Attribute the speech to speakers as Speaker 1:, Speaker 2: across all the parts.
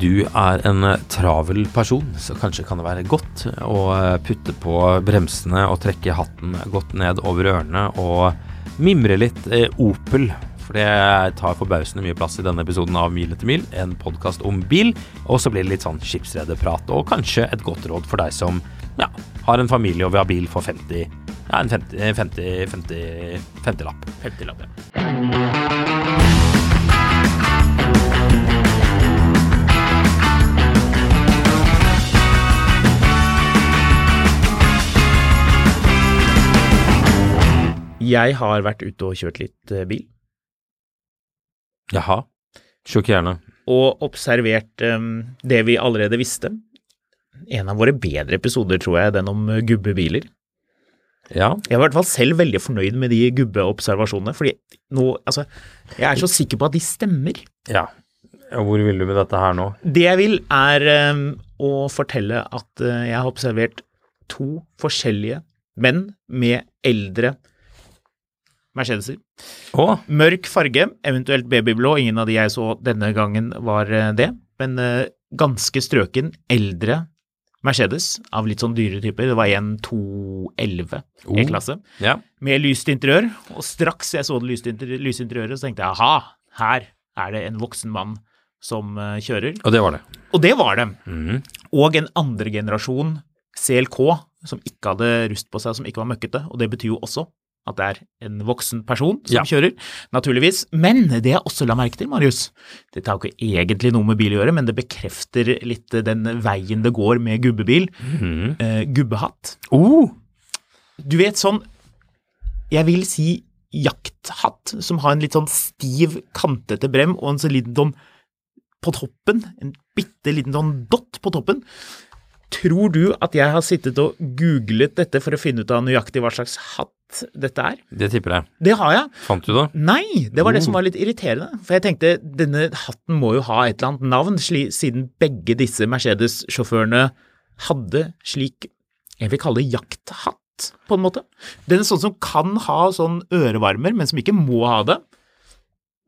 Speaker 1: Du er en eh, travel person, så kanskje kan det være godt eh, å putte på bremsene og trekke hatten godt ned over ørene og mimre litt eh, Opel. For det tar forbausende mye plass i denne episoden av Mil etter mil, en podkast om bil. Og så blir det litt sånn skipsrederprat og kanskje et godt råd for deg som ja, har en familie og vil ha bil for 50 Ja, en 50, 50, 50, 50-lapp. 50-lapp, ja.
Speaker 2: Jeg har vært ute og kjørt litt eh, bil,
Speaker 1: Jaha. Sjokkerende.
Speaker 2: og observert em, det vi allerede visste. En av våre bedre episoder, tror jeg, den om eh, gubbebiler.
Speaker 1: Ja.
Speaker 2: Jeg var i hvert fall selv veldig fornøyd med de gubbeobservasjonene, fordi nå, altså, jeg er så sikker på at de stemmer.
Speaker 1: ja. Hvor vil du med dette her nå?
Speaker 2: Det jeg vil, er em, å fortelle at eh, jeg har observert to forskjellige menn med eldre Mercedeser.
Speaker 1: Å,
Speaker 2: Mørk farge, eventuelt babyblå. Ingen av de jeg så denne gangen var eh, det. Men eh, ganske strøken, eldre Mercedes av litt sånn dyre typer. Det var en 211
Speaker 1: Oh.
Speaker 2: E-klasse.
Speaker 1: ja.
Speaker 2: Med lyst interiør. Og straks jeg så det lyst inter- lyse interiøret, så tenkte jeg aha, her er det en voksen mann som eh, kjører.
Speaker 1: Og det var det.
Speaker 2: Og det var det.
Speaker 1: Mm-hmm.
Speaker 2: Og en andre generasjon CLK som ikke hadde rust på seg, som ikke var møkkete. Og det betyr jo også at det er en voksen person som
Speaker 1: Ja.
Speaker 2: kjører, naturligvis. Men det jeg også la merke til, Marius, dette har jo ikke egentlig noe med bil å gjøre, men det bekrefter litt den veien det går med gubbebil.
Speaker 1: Mm-hmm.
Speaker 2: Eh, gubbehatt.
Speaker 1: Oh.
Speaker 2: Du vet sånn Jeg vil si jakthatt, som har en litt sånn stiv, kantete brem og en så liten sånn på toppen, en bitte liten sånn dott på toppen. Tror du at jeg har sittet og googlet dette for å finne ut av nøyaktig hva slags hatt dette er?
Speaker 1: Det tipper jeg.
Speaker 2: Det har jeg.
Speaker 1: Fant du det?
Speaker 2: Nei, det var det som var litt irriterende. For jeg tenkte denne hatten må jo ha et eller annet navn, sli, siden begge disse Mercedes-sjåførene hadde slik jeg vil kalle det jakthatt, på en måte. Den er sånn som kan ha sånn ørevarmer, men som ikke må ha det.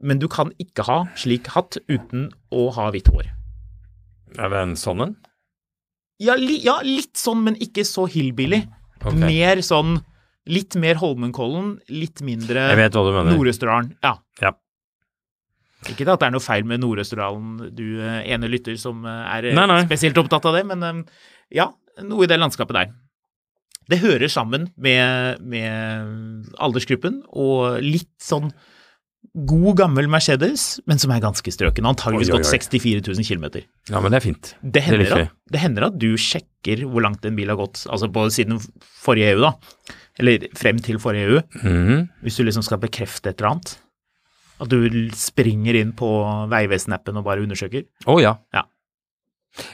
Speaker 2: Men du kan ikke ha slik hatt uten å ha hvitt hår.
Speaker 1: Er det en sånn en?
Speaker 2: Ja, li, ja litt sånn, men ikke så hillbilly.
Speaker 1: Ok.
Speaker 2: Mer sånn Litt mer Holmenkollen, litt mindre
Speaker 1: Jeg vet hva du mener.
Speaker 2: Nord-Østerdalen. Ja.
Speaker 1: Ja.
Speaker 2: Ikke at det er noe feil med Nord-Østerdalen, du eh, ene lytter som eh, er eh,
Speaker 1: Nei, nei.
Speaker 2: spesielt opptatt av det, men eh, ja, noe i det landskapet der. Det hører sammen med, med aldersgruppen og litt sånn god, gammel Mercedes, men som er ganske strøken. Antageligvis
Speaker 1: Oi, oi,
Speaker 2: gått
Speaker 1: oi.
Speaker 2: 64 000 km.
Speaker 1: Ja, men det er fint.
Speaker 2: Det hender,
Speaker 1: liker vi.
Speaker 2: at, det hender at du sjekker hvor langt en bil har gått, altså på siden forrige EU, da. Eller frem til forrige E EU.
Speaker 1: Mhm.
Speaker 2: Hvis du liksom skal bekrefte et eller annet. At du l- springer inn på Vegvesen-appen og bare undersøker.
Speaker 1: Å ja.
Speaker 2: Ja.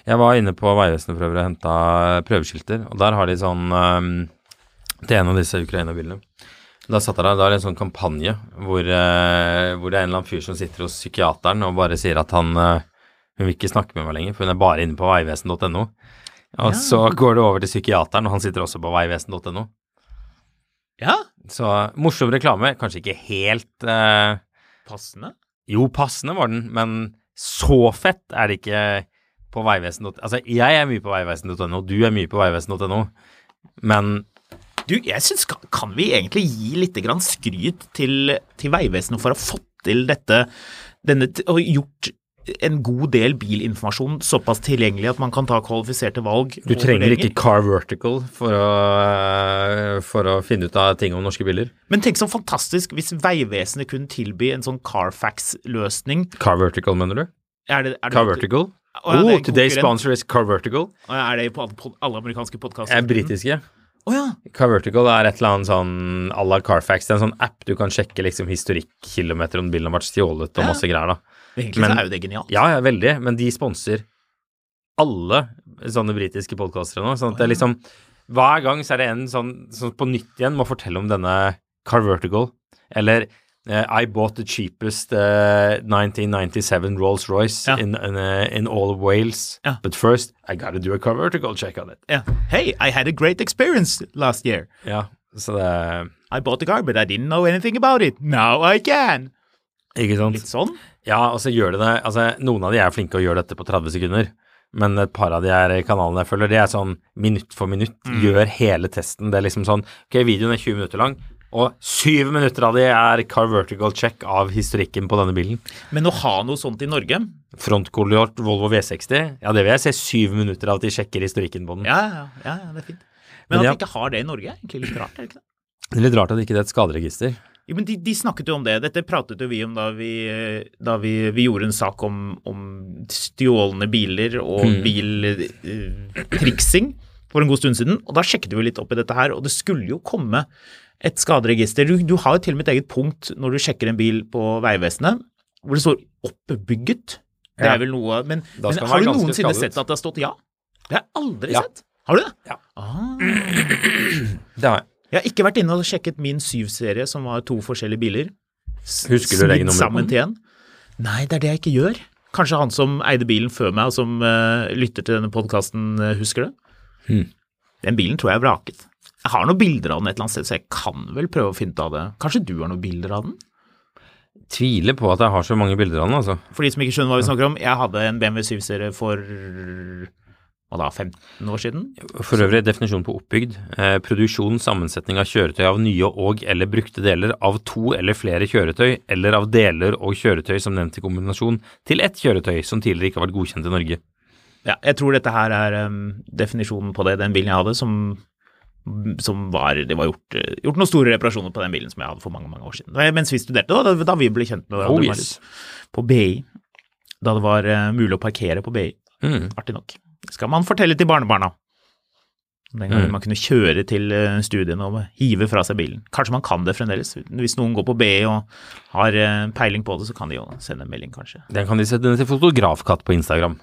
Speaker 1: Jeg var inne på Vegvesenet for øvrig og henta prøveskilter, og der har de sånn ehm, til en av disse Ukraina-bilene. Da satt jeg der, da er det en sånn kampanje hvor, eh, hvor det er en eller annen fyr som sitter hos psykiateren og bare sier at han eh, hun vil ikke snakke med meg lenger, for hun er bare inne på vegvesen.no. Og så går det over til psykiateren, og han sitter også på vegvesen.no.
Speaker 2: Ja,
Speaker 1: Så morsom reklame, kanskje ikke helt eh,
Speaker 2: passende.
Speaker 1: Jo, passende var den, men så fett er det ikke på vegvesen.no. Altså, jeg er mye på vegvesen.no, du er mye på vegvesen.no, men
Speaker 2: Du, jeg syns kan, kan vi egentlig gi litt grann skryt til, til Vegvesenet for å ha fått til dette denne, t- og gjort en god del bilinformasjon såpass tilgjengelig at man kan ta kvalifiserte valg.
Speaker 1: du
Speaker 2: og
Speaker 1: trenger
Speaker 2: vurderinger.
Speaker 1: ikke Car Vertical for å, eh, for å finne ut av ting om norske biler.
Speaker 2: Men tenk så fantastisk hvis Vegvesenet kunne tilby en sånn Carfax-løsning.
Speaker 1: Car Vertical, mener du?
Speaker 2: Er det, er det,
Speaker 1: Car Vertical?
Speaker 2: Å, ja, det er
Speaker 1: oh,
Speaker 2: en
Speaker 1: today's
Speaker 2: konkurrent.
Speaker 1: sponsor is Car Vertical.
Speaker 2: Er det på alle, pod- alle amerikanske podkaster?
Speaker 1: Jeg er britiske.
Speaker 2: Å ja.
Speaker 1: Car Vertical er et eller annet sånn à la Carfax. Det er en sånn app du kan sjekke liksom historikk, kilometer om bilen har vært stjålet og masse greier, da.
Speaker 2: Egentlig
Speaker 1: Men-
Speaker 2: så er jo det genialt.
Speaker 1: Ja, ja, veldig, men de sponser alle sånne britiske podkaster nå. Sånn at det er liksom Hver gang så er det en sånn som på nytt igjen må fortelle om denne Carvertical, eller eh, I bought the cheapest eh, 1997 Rolls-Royce
Speaker 2: Ja.
Speaker 1: in, in, eh, in all of Wales,
Speaker 2: Ja.
Speaker 1: but first I gotta do a Carvertical check on it.
Speaker 2: Ja. Hey, I had a great experience last year.
Speaker 1: Ja, så det er
Speaker 2: I bought a car, but I didn't know anything about it. Now I can.
Speaker 1: Ikke sant?
Speaker 2: Litt sånn.
Speaker 1: Ja, og så gjør de det Altså, noen av de er flinke og gjør dette på 30 sekunder, men et par av de her kanalene jeg følger, det er sånn minutt for minutt, gjør hele testen. Det er liksom sånn Ok, videoen er 20 minutter lang, og syv minutter av de er car vertical check av historikken på denne bilen.
Speaker 2: Men å ha noe sånt i Norge
Speaker 1: Frontkollert Volvo V60, ja, det vil jeg se syv minutter av at de sjekker historikken på den.
Speaker 2: Ja, ja, ja, ja, det er fint.
Speaker 1: Men
Speaker 2: Men, at
Speaker 1: ja.
Speaker 2: vi ikke har det i Norge, er egentlig litt rart. er det ikke det?
Speaker 1: Det er litt rart at ikke det er et skaderegister.
Speaker 2: Jo, men de, de snakket jo om det. Dette pratet jo vi om da vi, eh, da vi, vi gjorde en sak om, om stjålne biler og
Speaker 1: Mm.
Speaker 2: biltriksing for en god stund siden. Og da sjekket vi litt opp i dette her, og det skulle jo komme et skaderegister. Du, du har jo til og med et eget punkt når du sjekker en bil på Vegvesenet, hvor det står 'oppbygget'. Det
Speaker 1: Ja.
Speaker 2: er vel noe Men,
Speaker 1: Da
Speaker 2: men
Speaker 1: skal man
Speaker 2: har du
Speaker 1: være ganske
Speaker 2: noensinne
Speaker 1: skadet.
Speaker 2: sett at det har stått 'ja'? Det har jeg aldri
Speaker 1: Ja.
Speaker 2: sett. Har du det?
Speaker 1: Ja.
Speaker 2: Ah.
Speaker 1: Det har jeg.
Speaker 2: Jeg har ikke vært inne og sjekket min syv-serie, som var to forskjellige biler. S-
Speaker 1: Husker du
Speaker 2: smidd
Speaker 1: regnummer på den?
Speaker 2: sammen til en. Nei, det er det jeg ikke gjør. Kanskje han som eide bilen før meg, og som eh, lytter til denne podkasten, husker det.
Speaker 1: Hmm.
Speaker 2: Den bilen tror jeg er vraket. Jeg har noen bilder av den et eller annet sted, så jeg kan vel prøve å finne ut av det. Kanskje du har noen bilder av den?
Speaker 1: Tviler på at jeg har så mange bilder av den, altså.
Speaker 2: For de som ikke skjønner hva vi snakker om, jeg hadde en BMW 7-serie for hva da, 15 år siden?
Speaker 1: For øvrig, definisjon på oppbygd. Eh, produksjon, sammensetning av kjøretøy av nye og eller brukte deler av to eller flere kjøretøy, eller av deler og kjøretøy som nevnt i kombinasjon, til ett kjøretøy som tidligere ikke har vært godkjent i Norge.
Speaker 2: Ja, jeg tror dette her er em, definisjonen på det. Den bilen jeg hadde som, som var Det var gjort, eh, gjort noen store reparasjoner på den bilen som jeg hadde for mange mange år siden. Det var Mens vi studerte, da, da, da vi ble kjent med hverandre.
Speaker 1: Oh,
Speaker 2: det var
Speaker 1: yes.
Speaker 2: litt På BI. Da det var eh, mulig å parkere på BI.
Speaker 1: Mm.
Speaker 2: Artig nok. Skal man fortelle til barnebarna. Den
Speaker 1: Mm.
Speaker 2: gangen man kunne kjøre til eh, studiene og hive fra seg bilen. Kanskje man kan det fremdeles. Hvis noen går på BI og har eh, peiling på det, så kan de jo sende en melding, kanskje.
Speaker 1: Den kan de sette ned til fotografkatt på Instagram.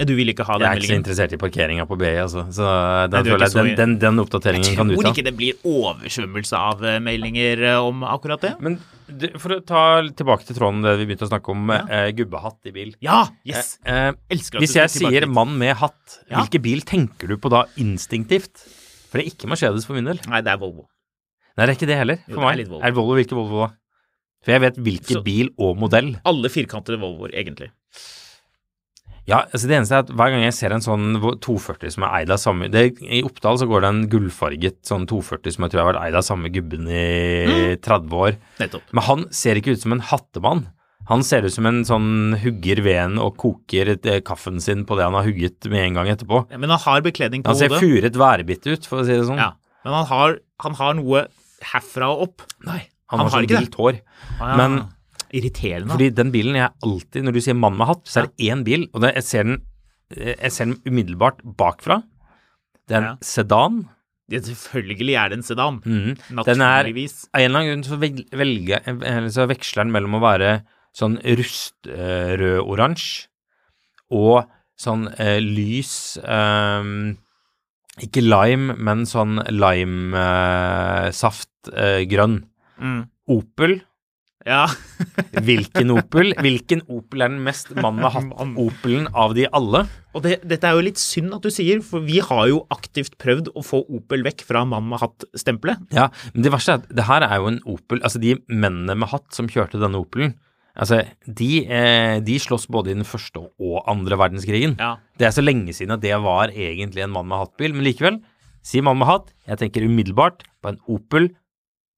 Speaker 2: Eh, Du vil ikke ha
Speaker 1: Jeg
Speaker 2: den
Speaker 1: er ikke så
Speaker 2: meldingen?
Speaker 1: interessert i parkeringa på BI, altså. Så
Speaker 2: Nei,
Speaker 1: den,
Speaker 2: du er
Speaker 1: føler
Speaker 2: ikke så
Speaker 1: jeg, den, den, den oppdateringen Mm, kan du
Speaker 2: tror
Speaker 1: ta.
Speaker 2: ikke det blir oversvømmelse av eh, meldinger eh, om akkurat det.
Speaker 1: Men du, for å ta tilbake til tråden det vi begynte å snakke om, eh, gubbehatt i bil.
Speaker 2: Ja! Yes!
Speaker 1: Eh,
Speaker 2: Elsker at
Speaker 1: Hvis
Speaker 2: du
Speaker 1: jeg
Speaker 2: skal tilbake
Speaker 1: sier
Speaker 2: dit.
Speaker 1: mann med hatt,
Speaker 2: Ja.
Speaker 1: hvilken bil tenker du på da instinktivt? For det er ikke Mercedes for min del.
Speaker 2: Nei, det er Volvo.
Speaker 1: Nei, det er ikke det heller.
Speaker 2: Jo,
Speaker 1: For
Speaker 2: det er
Speaker 1: meg.
Speaker 2: litt Volvo.
Speaker 1: Er det Volvo hvilken Volvo da? For jeg vet hvilken
Speaker 2: Så-
Speaker 1: bil og modell.
Speaker 2: Alle firkantede Volvoer, egentlig.
Speaker 1: Ja, altså Det eneste er at hver gang jeg ser en sånn vo- 240 som er eid av samme det, I Oppdal så går det en gullfarget sånn 240 som jeg tror har vært eid av samme gubben
Speaker 2: Mm.
Speaker 1: i 30 år.
Speaker 2: Nettopp.
Speaker 1: Men han ser ikke ut som en hattemann. Han ser ut som en sånn hugger veden og koker eh, kaffen sin på det han har hugget med en gang etterpå.
Speaker 2: Ja, Men han har bekledning på
Speaker 1: Han ser
Speaker 2: hodet.
Speaker 1: furet værbitt ut, for å si det sånn.
Speaker 2: Ja. Men han har, han har noe herfra og opp.
Speaker 1: Nei,
Speaker 2: Han
Speaker 1: han, har
Speaker 2: har
Speaker 1: sånn
Speaker 2: ikke det.
Speaker 1: vilt hår.
Speaker 2: Ah,
Speaker 1: Men
Speaker 2: Irriterende.
Speaker 1: fordi den bilen jeg alltid, når du sier mann med hatt, så er det én bil, og det, jeg, ser den, eh, jeg ser den umiddelbart bakfra. Det er en
Speaker 2: Ja.
Speaker 1: sedan.
Speaker 2: Ja, selvfølgelig er det en sedan.
Speaker 1: Mhm. Den er
Speaker 2: Naturligvis.
Speaker 1: Av en eller annen grunn så, vel- velger, eller så veksler den mellom å være sånn rustrød-oransje og sånn eh, lys ehm, Ikke lime, men sånn eh, limesaft-grønn.
Speaker 2: Mm.
Speaker 1: Opel.
Speaker 2: Ja.
Speaker 1: Hvilken Opel? Hvilken Opel er den mest mann med
Speaker 2: Mann.
Speaker 1: hatt-Opelen av de alle?
Speaker 2: Mm. Og det, dette er jo litt synd at du sier, for vi har jo aktivt prøvd å få Opel vekk fra mann med hatt-stempelet.
Speaker 1: Ja, men det verste er at det her er jo en Opel Altså, de mennene med hatt som kjørte denne Opelen, altså, de, eh, de slåss både i den første og andre verdenskrigen.
Speaker 2: Ja.
Speaker 1: Det er så lenge siden at det var egentlig en mann med hatt-bil, men likevel, si mann med hatt, jeg tenker umiddelbart på en Opel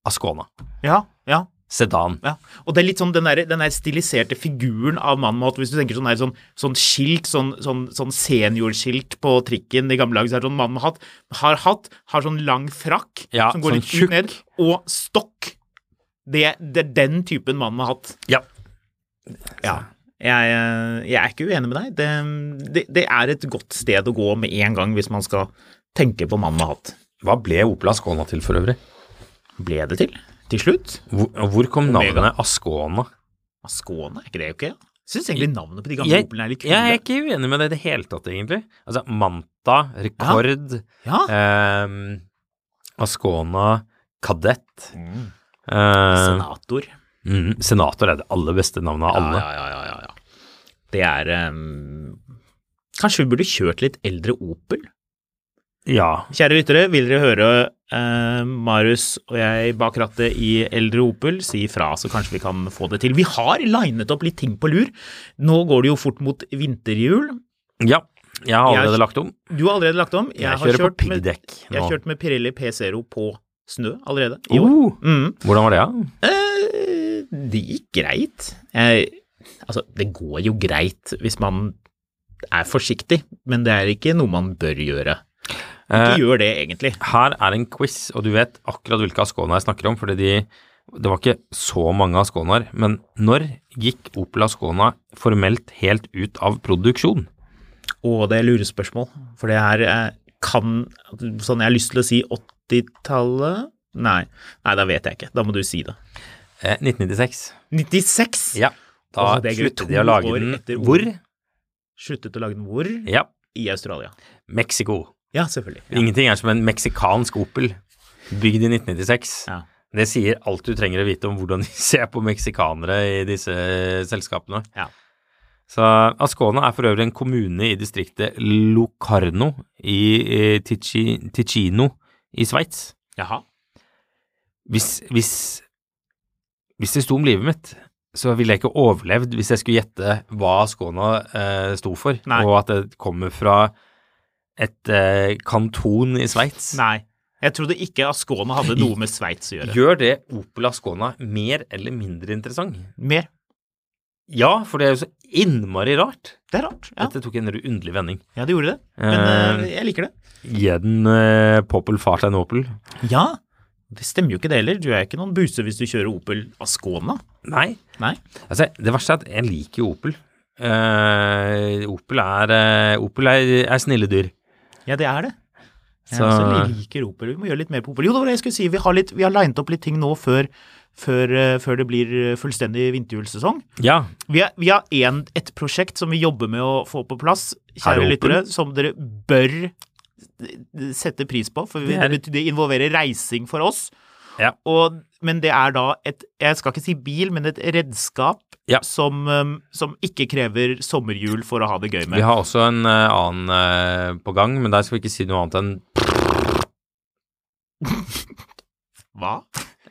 Speaker 1: Ascona.
Speaker 2: Ja, ja.
Speaker 1: Sedan.
Speaker 2: Ja, og det er litt sånn den der, den der stiliserte figuren av mannen med hatt. Hvis du tenker sånn, her, sånn, sånn skilt, sånn, sånn, sånn seniorskilt på trikken i gamle dager, så er det sånn mann med hatt. Har hatt, har sånn lang frakk
Speaker 1: Ja,
Speaker 2: som går
Speaker 1: sånn
Speaker 2: litt
Speaker 1: tjukk.
Speaker 2: ut ned, og stokk. Det, det er den typen mann med hatt.
Speaker 1: Ja.
Speaker 2: Ja. Jeg, eh, jeg er ikke uenig med deg. Det, det, det er et godt sted å gå med en gang hvis man skal tenke på mann med hatt.
Speaker 1: Hva ble Opel Ascona til, for øvrig?
Speaker 2: Ble det til til slutt?
Speaker 1: Hvor, og hvor kom
Speaker 2: Omega.
Speaker 1: navnet Ascona?
Speaker 2: Skåne, er ikke det ok? Syns egentlig navnet på de gamle
Speaker 1: Jeg,
Speaker 2: Opelene er litt
Speaker 1: jeg er
Speaker 2: kule.
Speaker 1: ikke uenig med det i det hele tatt, egentlig. Altså, Manta, Rekord,
Speaker 2: Ja.
Speaker 1: ehm, Ascona, Kadett
Speaker 2: Mm.
Speaker 1: eh,
Speaker 2: Senator.
Speaker 1: mm, Senator er det aller beste navnet av alle.
Speaker 2: Ja, ja, ja, ja, ja. Det er ehm, Kanskje vi burde kjørt litt eldre Opel?
Speaker 1: Ja.
Speaker 2: Kjære lyttere, vil dere høre eh, Marius og jeg bak rattet i eldre Opel? Si ifra, så kanskje vi kan få det til. Vi har linet opp litt ting på lur. Nå går det jo fort mot vinterjul.
Speaker 1: ja. Jeg har
Speaker 2: Jeg-
Speaker 1: allerede lagt om.
Speaker 2: Du har allerede lagt om.
Speaker 1: Jeg, kjører på
Speaker 2: med-
Speaker 1: piggdekk nå.
Speaker 2: Jeg har kjørt med Pirelli P0 på snø allerede i år.
Speaker 1: Oh,
Speaker 2: Mm.
Speaker 1: hvordan var det, da?
Speaker 2: Eh, det gikk greit. Jeg, altså, det går jo greit hvis man er forsiktig, men det er ikke noe man bør gjøre. Ikke
Speaker 1: Eh,
Speaker 2: gjør det, egentlig.
Speaker 1: her er en quiz, og du vet akkurat hvilke Ascona jeg snakker om, fordi de det var ikke så mange Asconaer, men når gikk Opel Ascona formelt helt ut av produksjon?
Speaker 2: Og det er lurespørsmål, for det her eh, kan Sånn, jeg har lyst til å si 80-tallet Nei. Nei, da vet jeg ikke. Da må du si det.
Speaker 1: Eh, 1996.
Speaker 2: 96!
Speaker 1: Ja. Da
Speaker 2: Åh, Altså, det er gøy.
Speaker 1: sluttet de
Speaker 2: To
Speaker 1: å lage
Speaker 2: år
Speaker 1: den
Speaker 2: etter
Speaker 1: hvor?
Speaker 2: Sluttet å lage den hvor?
Speaker 1: Ja,
Speaker 2: I Australia.
Speaker 1: Mexico.
Speaker 2: Ja, selvfølgelig.
Speaker 1: Ingenting er som en meksikansk Opel bygd i 1996.
Speaker 2: Ja.
Speaker 1: Det sier alt du trenger å vite om hvordan de ser på meksikanere i disse selskapene.
Speaker 2: Ja.
Speaker 1: Så Ascona er for øvrig en kommune i distriktet Locarno i eh, Tici, Ticino i Sveits.
Speaker 2: Jaha.
Speaker 1: Hvis, hvis, hvis det sto om livet mitt, så ville jeg ikke overlevd hvis jeg skulle gjette hva Skåna eh, sto for,
Speaker 2: Nei.
Speaker 1: og at det kommer fra et eh, kanton i Sveits.
Speaker 2: Nei. Jeg trodde ikke Ascona hadde noe med Sveits å gjøre.
Speaker 1: Gjør det Opel Ascona mer eller mindre interessant?
Speaker 2: Mer.
Speaker 1: Ja, for det er jo så innmari rart.
Speaker 2: Det er rart. Ja,
Speaker 1: Dette tok en underlig vending.
Speaker 2: ja det gjorde det. Men
Speaker 1: Eh,
Speaker 2: eh, jeg liker det.
Speaker 1: Gi den eh, Popel Fartein Opel.
Speaker 2: Ja, det stemmer jo ikke det heller. Du er ikke noen buse hvis du kjører Opel Ascona.
Speaker 1: Nei.
Speaker 2: Nei.
Speaker 1: Altså, det verste er at jeg liker jo Opel. Eh, Opel er, eh, Opel er, er snille dyr.
Speaker 2: Ja, det er det. Jeg
Speaker 1: Så-
Speaker 2: også liker Opel. Vi må gjøre litt mer på Opel. Jo, det var det jeg skulle si. Vi har, litt, vi har linet opp litt ting nå før, før, eh, før det blir eh, fullstendig vinterjulsesong.
Speaker 1: Ja,
Speaker 2: Vi har, vi har en, et prosjekt som vi jobber med å få på plass,
Speaker 1: Er
Speaker 2: kjære
Speaker 1: det Opel?
Speaker 2: lyttere, som dere bør eh, sette pris på. For det,
Speaker 1: Det er-
Speaker 2: betyr- det involverer reising for oss.
Speaker 1: Ja.
Speaker 2: Og, men det er da et Jeg skal ikke si bil, men et redskap
Speaker 1: Ja.
Speaker 2: som, eh, som ikke krever sommerhjul for å ha det gøy
Speaker 1: Vi
Speaker 2: med.
Speaker 1: har også en eh, annen eh, på gang, men der skal vi ikke si noe annet enn
Speaker 2: Hva?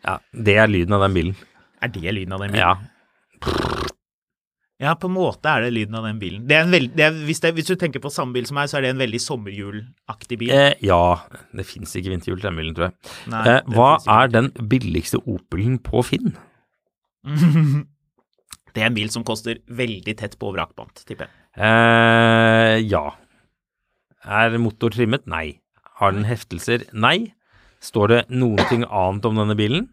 Speaker 1: ja, Det er lyden av den bilen.
Speaker 2: Er det lyden av den bilen?
Speaker 1: Ja.
Speaker 2: Ja, på en måte er det lyden av den bilen. Det er en veld, det er, hvis, det, hvis du tenker på samme bil som meg, så er det en veldig sommerhjulaktig bil.
Speaker 1: Eh, ja. Det fins ikke vinterhjul til den bilen, tror jeg.
Speaker 2: Nei,
Speaker 1: Eh,
Speaker 2: det
Speaker 1: hva
Speaker 2: finnes ikke.
Speaker 1: er den billigste Opelen på Finn?
Speaker 2: Det er en bil som koster veldig tett på vrakpant, tipper jeg.
Speaker 1: Eh, ja. Er motor trimmet? Nei. Har den heftelser? Nei. Står det noen ting annet om denne bilen?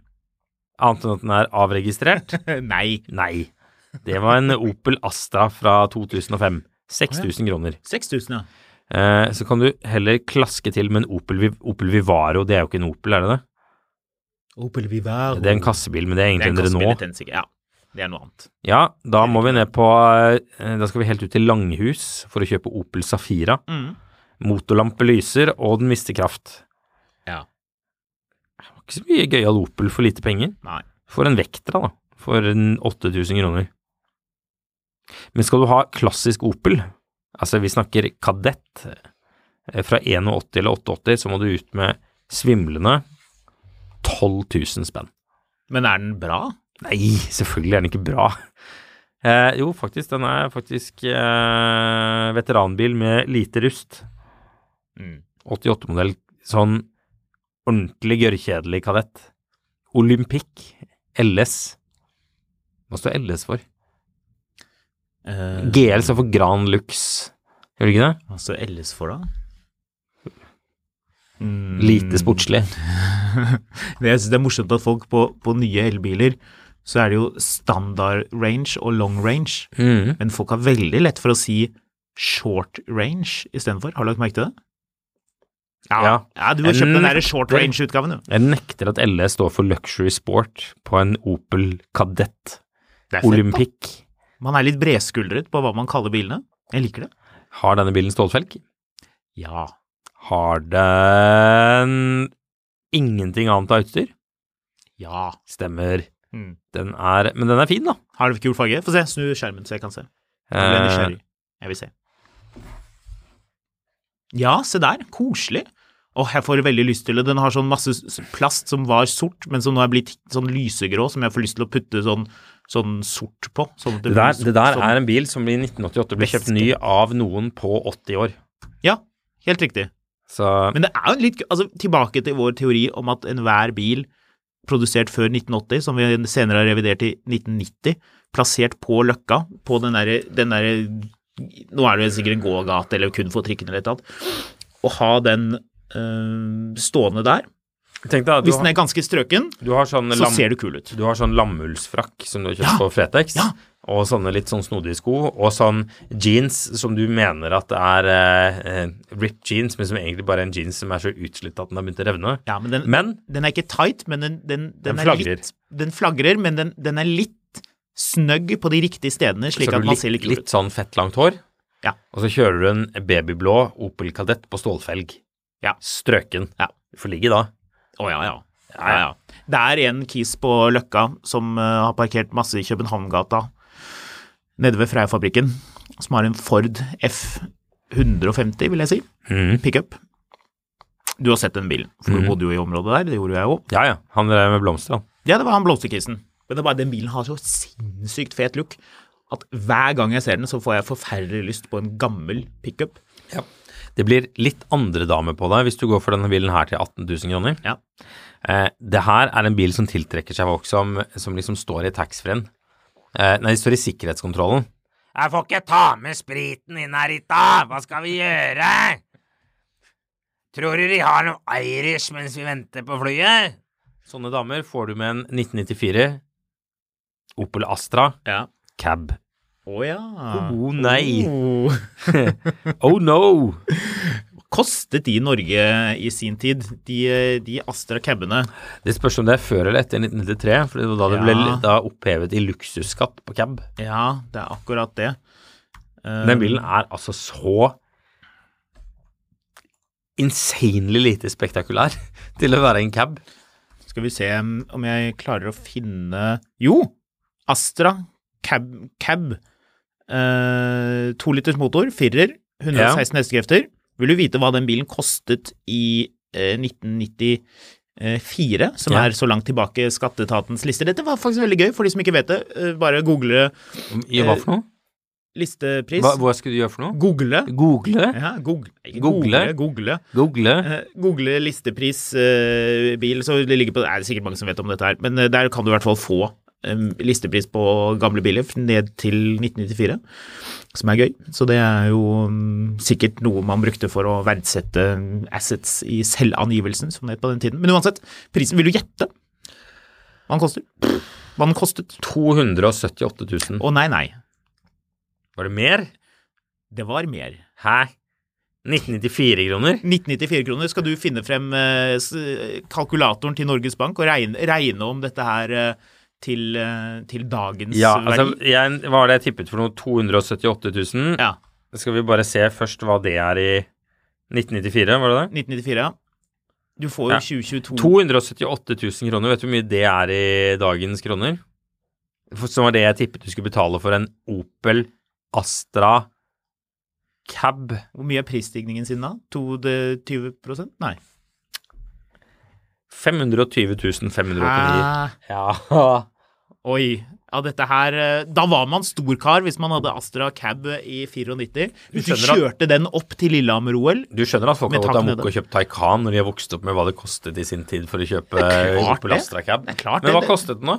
Speaker 1: Annet enn at den er avregistrert?
Speaker 2: Nei.
Speaker 1: Nei. Det var en Opel Astra fra 2005. 6000 kroner.
Speaker 2: 6000, ja.
Speaker 1: Eh, så kan du heller klaske til med en Opel, Vi- Opel Vivaro. Det er jo ikke en Opel, er det det?
Speaker 2: Opel Vivaro.
Speaker 1: Det er en kassebil, men det er egentlig en
Speaker 2: kassebil,
Speaker 1: Renault.
Speaker 2: den sikkert. Ja, det er noe annet.
Speaker 1: Ja, da må vi ned på eh, Da skal vi helt ut til Langhus for å kjøpe Opel Safira.
Speaker 2: Mm.
Speaker 1: Motorlampe lyser, og den mister kraft.
Speaker 2: Ja.
Speaker 1: Det var ikke så mye gøyal Opel for lite penger.
Speaker 2: Nei.
Speaker 1: For en Vectra, da. For en 8000 kroner. Men skal du ha klassisk Opel, altså vi snakker kadett, eh, fra 81 eller 88, så må du ut med svimlende 12 000 spenn.
Speaker 2: Men er den bra?
Speaker 1: Nei, selvfølgelig er den ikke bra. Eh, jo, faktisk, den er faktisk eh, veteranbil med lite rust.
Speaker 2: Mm.
Speaker 1: 88-modell, sånn ordentlig gørrkjedelig kadett. Olympic LS. Hva står LS for?
Speaker 2: Eh,
Speaker 1: GL står for Gran Lux. Gjør det ikke det?
Speaker 2: Hva står LS for, da? Mm.
Speaker 1: Lite sportslig.
Speaker 2: Men jeg synes det er morsomt at folk på, på nye elbiler, så er det jo standard range og long range.
Speaker 1: Mhm.
Speaker 2: Men folk har veldig lett for å si short range istedenfor. Har du lagt merke til det?
Speaker 1: Ja. Mm.
Speaker 2: ja du har kjøpt den der
Speaker 1: Nekter.
Speaker 2: short range-utgaven, du.
Speaker 1: Jeg nekter at LS står for Luxury Sport på en Opel Kadett
Speaker 2: Det er fett, da.
Speaker 1: Olympic.
Speaker 2: Man er litt bredskuldret på hva man kaller bilene. Jeg liker det.
Speaker 1: Har denne bilen stålfelg?
Speaker 2: Ja.
Speaker 1: Har den ingenting annet av utstyr?
Speaker 2: Ja.
Speaker 1: Stemmer.
Speaker 2: Mm.
Speaker 1: Den er Men den er fin, da.
Speaker 2: Har det kul farge? Få se, snu skjermen så jeg kan se. Jeg
Speaker 1: Eh.
Speaker 2: ble nysgjerrig. Jeg vil se. Ja, se der. Koselig. Åh, jeg får veldig lyst til det. Den har sånn masse s- plast som var sort, men som nå er blitt sånn lysegrå, som jeg får lyst til å putte sånn, sånn sort på. Sånn at
Speaker 1: det, der,
Speaker 2: blir
Speaker 1: det der
Speaker 2: sånn-
Speaker 1: er en bil som i 1988 ble kjøpt ny av noen på 80 år.
Speaker 2: Ja, helt riktig.
Speaker 1: Så
Speaker 2: Men det er jo litt Altså, tilbake til vår teori om at enhver bil produsert før 1980, som vi senere har revidert i 1990, plassert på Løkka, på den derre den derre Nå er det jo sikkert en gågate eller kun for trikken eller et eller annet. Å ha den øh, stående der
Speaker 1: tenk deg at du,
Speaker 2: Hvis den er ganske strøken,
Speaker 1: har- du har sånn
Speaker 2: så
Speaker 1: lam,
Speaker 2: ser det kul ut.
Speaker 1: du har sånn lammullsfrakk som du har kjøpt
Speaker 2: Ja.
Speaker 1: på Fretex,
Speaker 2: Ja.
Speaker 1: og sånne litt sånn snodige sko, og sånn jeans som du mener at er eh, eh, ripped jeans, men som egentlig bare er en jeans som er så utslitt at den har begynt å revne.
Speaker 2: Ja, men den,
Speaker 1: Men
Speaker 2: den er ikke tight, men den, den, den,
Speaker 1: Den
Speaker 2: er
Speaker 1: flagrer.
Speaker 2: litt Den flagrer, men den, den er litt snøgg på de riktige stedene,
Speaker 1: så
Speaker 2: slik
Speaker 1: har
Speaker 2: at
Speaker 1: du
Speaker 2: man
Speaker 1: litt,
Speaker 2: ser litt kul ut.
Speaker 1: litt sånn fett langt hår,
Speaker 2: Ja.
Speaker 1: og så kjører du en babyblå Opel Kadett på stålfelg.
Speaker 2: Ja.
Speaker 1: Strøken.
Speaker 2: Ja.
Speaker 1: Du får ligge da.
Speaker 2: Å ja, ja. ja, ja. Det er en kis på Løkka som eh, har parkert masse i Københavngata, nede ved Freia-fabrikken, som har en Ford F150, vil jeg si,
Speaker 1: Mhm.
Speaker 2: pickup. Du har sett den bilen, for du bodde jo i området der, det gjorde jeg òg.
Speaker 1: Ja, ja. Han drev med blomster, han.
Speaker 2: Ja, det var han blomsterkisen. Men det er bare den bilen har så sinnssykt fet look at hver gang jeg ser den, så får jeg forferdelig lyst på en gammel pickup.
Speaker 1: Det blir litt andre damer på deg hvis du går for denne bilen her til 18 000 kroner.
Speaker 2: Ja.
Speaker 1: Eh, det her er en bil som tiltrekker seg folk som, som liksom står i taxfree-en. Eh, nei, de står i sikkerhetskontrollen. Jeg får ikke ta med spriten inn her, Rita! Hva skal vi gjøre? Tror du de har noe Irish mens vi venter på flyet? Sånne damer får du med en 1994 Opel Astra
Speaker 2: Ja.
Speaker 1: cab.
Speaker 2: Å ja.
Speaker 1: Oh, nei.
Speaker 2: Oh.
Speaker 1: Oh no!
Speaker 2: kostet de Norge i sin tid, de, de Astra cabene.
Speaker 1: Det spørs om det er før eller etter 1993, for det var da det ble
Speaker 2: Ja.
Speaker 1: da opphevet i luksusskatt på cab.
Speaker 2: Ja, det er akkurat det. Eh,
Speaker 1: Den bilen er altså så insanely lite spektakulær til å være en cab.
Speaker 2: Skal vi se om jeg klarer å finne Jo! Astra cab. cab. Eh, to liters motor, firer, 116 hestekrefter. Vil du vite hva den bilen kostet i eh, 1994, som
Speaker 1: Ja.
Speaker 2: er så langt tilbake skatteetatens lister? Dette var faktisk veldig gøy, for de som ikke vet det. eh, bare google
Speaker 1: I hva for noe?
Speaker 2: listepris.
Speaker 1: Hva, hva skulle du gjøre for noe?
Speaker 2: Google.
Speaker 1: Eh, Google?
Speaker 2: Ja, google, ikke
Speaker 1: Google.
Speaker 2: google. Google,
Speaker 1: Google?
Speaker 2: Eh, google listepris eh, bil, så det ligger på Det er sikkert mange som vet om dette her, men eh, der kan du i hvert fall få eh, listepris på gamle biler f- ned til 1994, som er gøy. Så det er jo mm, sikkert noe man brukte for å verdsette mm, assets i selvangivelsen, som det het på den tiden. Men uansett, prisen vil du gjette hva den koster. Hva den kostet.
Speaker 1: 278 000.
Speaker 2: Å nei, nei.
Speaker 1: Var det mer?
Speaker 2: Det var mer.
Speaker 1: Hæ? 1994 kroner?
Speaker 2: 1994 kroner skal du finne frem eh, s- kalkulatoren til Norges Bank og regne, regne om dette her eh, til, eh, til dagens
Speaker 1: Ja, altså,
Speaker 2: verdi.
Speaker 1: jeg, hva var det jeg tippet for noe? 278 000?
Speaker 2: Ja,
Speaker 1: Skal vi bare se først hva det er i 1994, var det det?
Speaker 2: 1994, ja. Du får jo
Speaker 1: Ja.
Speaker 2: 2022
Speaker 1: 278 000 kroner, vet du hvor mye det er i dagens kroner? For- Som var det jeg tippet du skulle betale for en Opel Astra cab.
Speaker 2: Hvor mye er prisstigningen sin da? 22 prosent? Nei.
Speaker 1: 520 589.
Speaker 2: Hæ?
Speaker 1: Ja.
Speaker 2: Ah, Oi. Ja, dette her eh, Da var man storkar hvis man hadde Astra Cab i 94. Hvis du
Speaker 1: skjønner
Speaker 2: kjørte den opp til Lillehammer-OL
Speaker 1: Du skjønner at folk har
Speaker 2: Med
Speaker 1: gått
Speaker 2: taket
Speaker 1: amok
Speaker 2: nede.
Speaker 1: og kjøpt Taycan når de har vokst opp med hva det kostet i sin tid for å kjøpe
Speaker 2: er klart
Speaker 1: Opel
Speaker 2: det.
Speaker 1: Astra cab.
Speaker 2: Det er klart
Speaker 1: Men
Speaker 2: det.
Speaker 1: hva kostet den, da?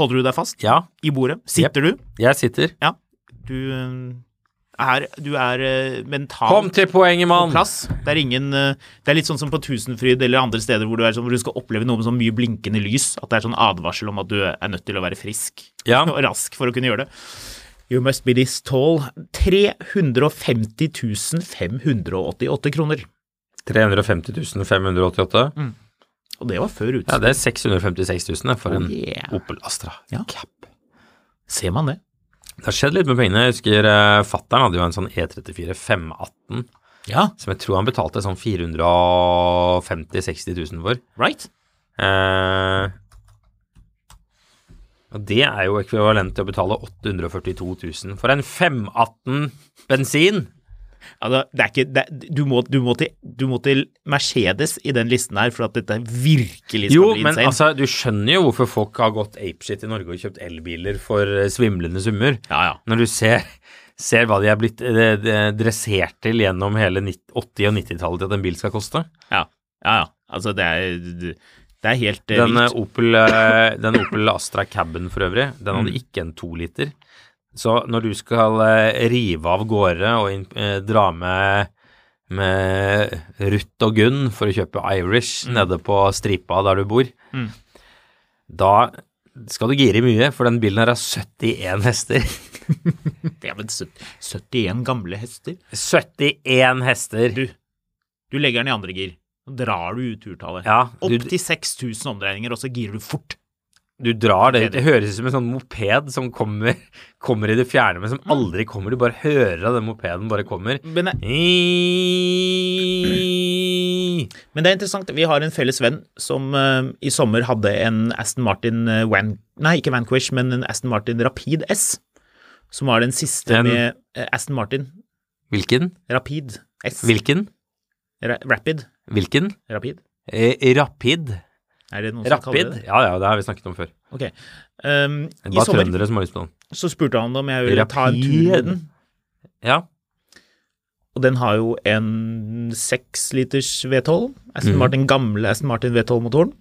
Speaker 2: Holder du deg fast
Speaker 1: Ja,
Speaker 2: i bordet? Sitter du?
Speaker 1: jeg sitter.
Speaker 2: Ja. Du eh, er, du er eh, mental
Speaker 1: Kom til poenget,
Speaker 2: på
Speaker 1: mann!
Speaker 2: plass. Det er ingen eh, Det er litt sånn som på Tusenfryd eller andre steder hvor du, er sånn, hvor du skal oppleve noe med sånn mye blinkende lys. At det er sånn advarsel om at du er nødt til å være frisk
Speaker 1: Ja.
Speaker 2: og rask for å kunne gjøre det. You must be this tall. 350 588 kroner.
Speaker 1: 350 588.
Speaker 2: Mm. Og det var før
Speaker 1: Ja,
Speaker 2: utstyr.
Speaker 1: det er 656 000 for en
Speaker 2: yeah.
Speaker 1: Opel Astra
Speaker 2: Ja.
Speaker 1: cab.
Speaker 2: Ser man det?
Speaker 1: Det har skjedd litt med pengene. Jeg husker eh, fatteren hadde jo en sånn E34 518
Speaker 2: Ja,
Speaker 1: som jeg tror han betalte sånn 450 000-60 000 for.
Speaker 2: right?
Speaker 1: Eh, og det er jo ekvivalent til å betale 842 000 for en 518 bensin.
Speaker 2: Altså, det er ikke, det, er- du, må, du, må til, du må til Mercedes i den listen her for at dette virkelig skal
Speaker 1: Jo,
Speaker 2: bli
Speaker 1: men
Speaker 2: insane.
Speaker 1: altså, du skjønner jo hvorfor folk har gått apeshit i Norge og kjøpt elbiler for eh, svimlende summer.
Speaker 2: ja, ja.
Speaker 1: Når du ser, ser hva de er blitt eh, eh, dressert til gjennom hele nitt- 80- og 90-tallet til at en bil skal koste.
Speaker 2: Ja, ja. ja. Altså, det er, det er helt eh,
Speaker 1: Den eh,
Speaker 2: vilt.
Speaker 1: Opel, eh, den Opel Astra Cabin for øvrig, den
Speaker 2: Mm.
Speaker 1: hadde ikke en to-liter. Så når du skal eh, rive av gårde og inn- eh, dra med med Ruth og Gunn for å kjøpe Irish nede på stripa der du bor,
Speaker 2: Mm.
Speaker 1: da skal du gire mye, for den bilen her har 71 hester.
Speaker 2: Det er vel sø- 71 gamle hester.
Speaker 1: 71 hester!
Speaker 2: Du, du legger den i andre gir. Så drar du ut turtallet.
Speaker 1: ja,
Speaker 2: Opp
Speaker 1: du,
Speaker 2: til 6000 omdreininger, og så girer du fort.
Speaker 1: du drar det Det høres ut som en sånn moped som kommer, kommer i det fjerne, men som
Speaker 2: Mm.
Speaker 1: aldri kommer. Du bare hører at den mopeden bare kommer.
Speaker 2: Men, eh, det-
Speaker 1: Ja,
Speaker 2: men det er interessant. Vi har en felles venn som eh, i sommer hadde en Aston Martin eh, Van... Nei, ikke Vanquish, men en Aston Martin Rapid S. Som var den siste
Speaker 1: Den-
Speaker 2: med eh, Aston Martin.
Speaker 1: Hvilken?
Speaker 2: Rapid S.
Speaker 1: Hvilken?
Speaker 2: Ra Rapid.
Speaker 1: Hvilken?
Speaker 2: Rapid.
Speaker 1: Eh, rapid.
Speaker 2: Er det noen som kaller
Speaker 1: Rapid?
Speaker 2: det det?
Speaker 1: Ja, ja, det har vi snakket om før.
Speaker 2: Ok. Um,
Speaker 1: Det er
Speaker 2: I
Speaker 1: bare
Speaker 2: sommer
Speaker 1: trøndere som har lyst på den.
Speaker 2: så spurte han om jeg ville ta en tur med
Speaker 1: Rapid.
Speaker 2: den.
Speaker 1: Ja.
Speaker 2: Og den har jo en 6 liters V12, Aston
Speaker 1: Mm.
Speaker 2: Martin, gamle Aston Martin V12-motoren,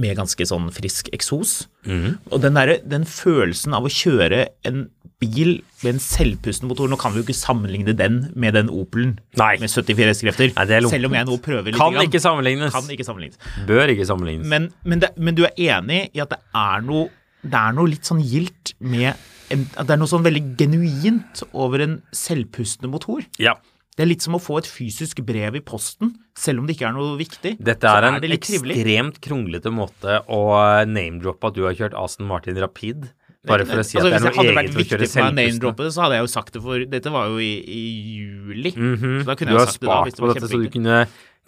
Speaker 2: med ganske sånn frisk eksos.
Speaker 1: Mm.
Speaker 2: Og den, derre- den følelsen av å kjøre en bil med en selvpustende motor, nå kan vi jo ikke sammenligne den med den Opelen
Speaker 1: Nei.
Speaker 2: med 74 hestekrefter,
Speaker 1: Nei, det er lumpent.
Speaker 2: selv om jeg nå prøver litt.
Speaker 1: Kan ikke sammenlignes.
Speaker 2: kan ikke sammenlignes.
Speaker 1: Bør ikke sammenlignes.
Speaker 2: Men, men, det, men du er enig i at det er noe, det er noe litt sånn gildt med en, at Det er noe sånn veldig genuint over en selvpustende motor.
Speaker 1: Ja.
Speaker 2: Det er litt som å få et fysisk brev i posten, selv om det ikke er noe viktig.
Speaker 1: Dette
Speaker 2: Så
Speaker 1: er en
Speaker 2: det litt trivelig.
Speaker 1: ekstremt kronglete måte å eh, name-droppe at du har kjørt Aston Martin Rapid. Bare for å si
Speaker 2: Altså,
Speaker 1: at det er
Speaker 2: hvis
Speaker 1: noe
Speaker 2: det hadde vært
Speaker 1: eget å kjøre
Speaker 2: viktig for meg å
Speaker 1: selvpustende.
Speaker 2: name-droppe det, så hadde jeg jo sagt det for Dette var jo i, i juli. Så da kunne
Speaker 1: Mhm. Du har
Speaker 2: jeg jo sagt det da.
Speaker 1: spart
Speaker 2: Hvis det
Speaker 1: på
Speaker 2: var
Speaker 1: dette, så du
Speaker 2: kjempeviktig.
Speaker 1: kunne,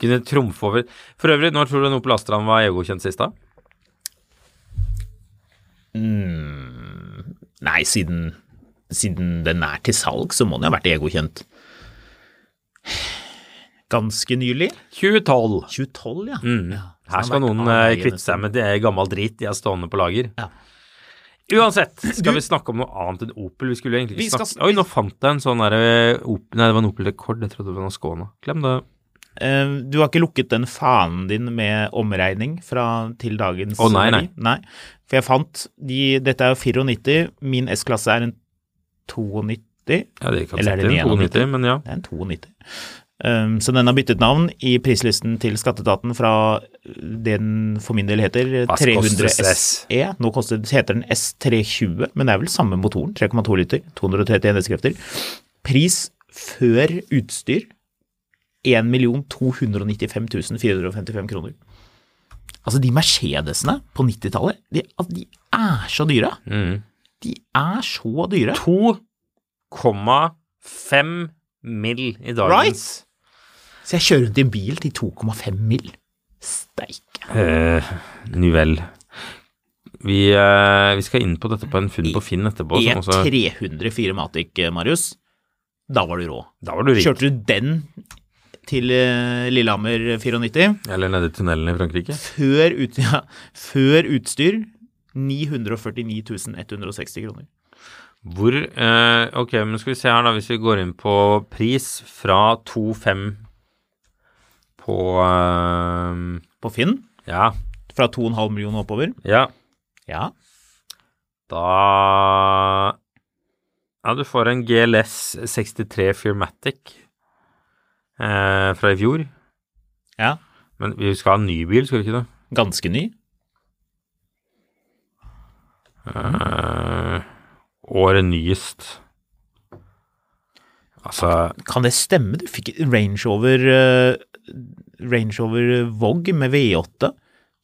Speaker 1: kunne trumfe over. For øvrig, når tror du Nopel Astran var EU-godkjent sist, da?
Speaker 2: Nei, siden, siden den er til salg, så må den jo ha vært egokjent. Ganske nylig.
Speaker 1: 2012.
Speaker 2: 2012, ja. ja. Så
Speaker 1: Mm. Her
Speaker 2: den
Speaker 1: skal
Speaker 2: har vært Ah,
Speaker 1: noen
Speaker 2: av
Speaker 1: eh,
Speaker 2: veien en
Speaker 1: kvitte seg
Speaker 2: stund.
Speaker 1: med det gammel drit de har stående på lager.
Speaker 2: Ja.
Speaker 1: Uansett, skal vi snakke om noe annet enn Opel? Vi skulle egentlig
Speaker 2: Vi
Speaker 1: ikke
Speaker 2: skal
Speaker 1: snakke
Speaker 2: sn-
Speaker 1: Oi, nå fant jeg en sånn derre Opel Nei, det var en Opel Rekord. Jeg trodde det var en Ascona. Glem det.
Speaker 2: Eh, Du har ikke lukket den fanen din med omregning fra til dagens
Speaker 1: Å, nei, nei.
Speaker 2: verdi? For jeg fant de Dette er jo 94. Min S-klasse er en 92. Det
Speaker 1: Ja, det kan
Speaker 2: Eller er
Speaker 1: sette
Speaker 2: det
Speaker 1: en 92,
Speaker 2: 92?
Speaker 1: men ja.
Speaker 2: er en 92. Um, så den har byttet navn i prislisten til skatteetaten fra det den for min del heter
Speaker 1: Hva koster
Speaker 2: 300
Speaker 1: S?
Speaker 2: SE. Nå koster, heter den S320, men det er vel samme motoren. 3,2 liter, 231 hestekrefter. Pris før utstyr 1 295 455 kroner. Altså, de Mercedesene på 90-tallet, de, altså, de er så dyre.
Speaker 1: Mm.
Speaker 2: De er så dyre.
Speaker 1: 2,5 mill. i dagens
Speaker 2: Så jeg kjører rundt i en bil til 2,5 mil. Steike.
Speaker 1: Eh, Nu vel. Vi, eh, vi skal inn på dette på en funn på Finn etterpå.
Speaker 2: E
Speaker 1: Som også,
Speaker 2: E304 Matic, eh, Marius. Da var du rå.
Speaker 1: da var du rik.
Speaker 2: Kjørte du den til eh, Lillehammer 94
Speaker 1: Eller nede i tunnelen i Frankrike.
Speaker 2: før, ut, ja, før utstyr 949 160 kroner.
Speaker 1: Hvor eh, Ok, men skal vi se her, da. Hvis vi går inn på pris fra 2,5 på eh,
Speaker 2: På Finn
Speaker 1: Ja.
Speaker 2: fra 2,5 millioner oppover.
Speaker 1: Ja.
Speaker 2: Ja.
Speaker 1: Da Ja, du får en GLS 63 Firmatic eh, fra i fjor.
Speaker 2: ja.
Speaker 1: Men vi skal ha en ny bil, skal vi ikke det?
Speaker 2: Ganske ny.
Speaker 1: Eh, året nyest. Altså
Speaker 2: Kan det stemme? Du fikk Range Rover, eh, Range Rover Vogue med V8.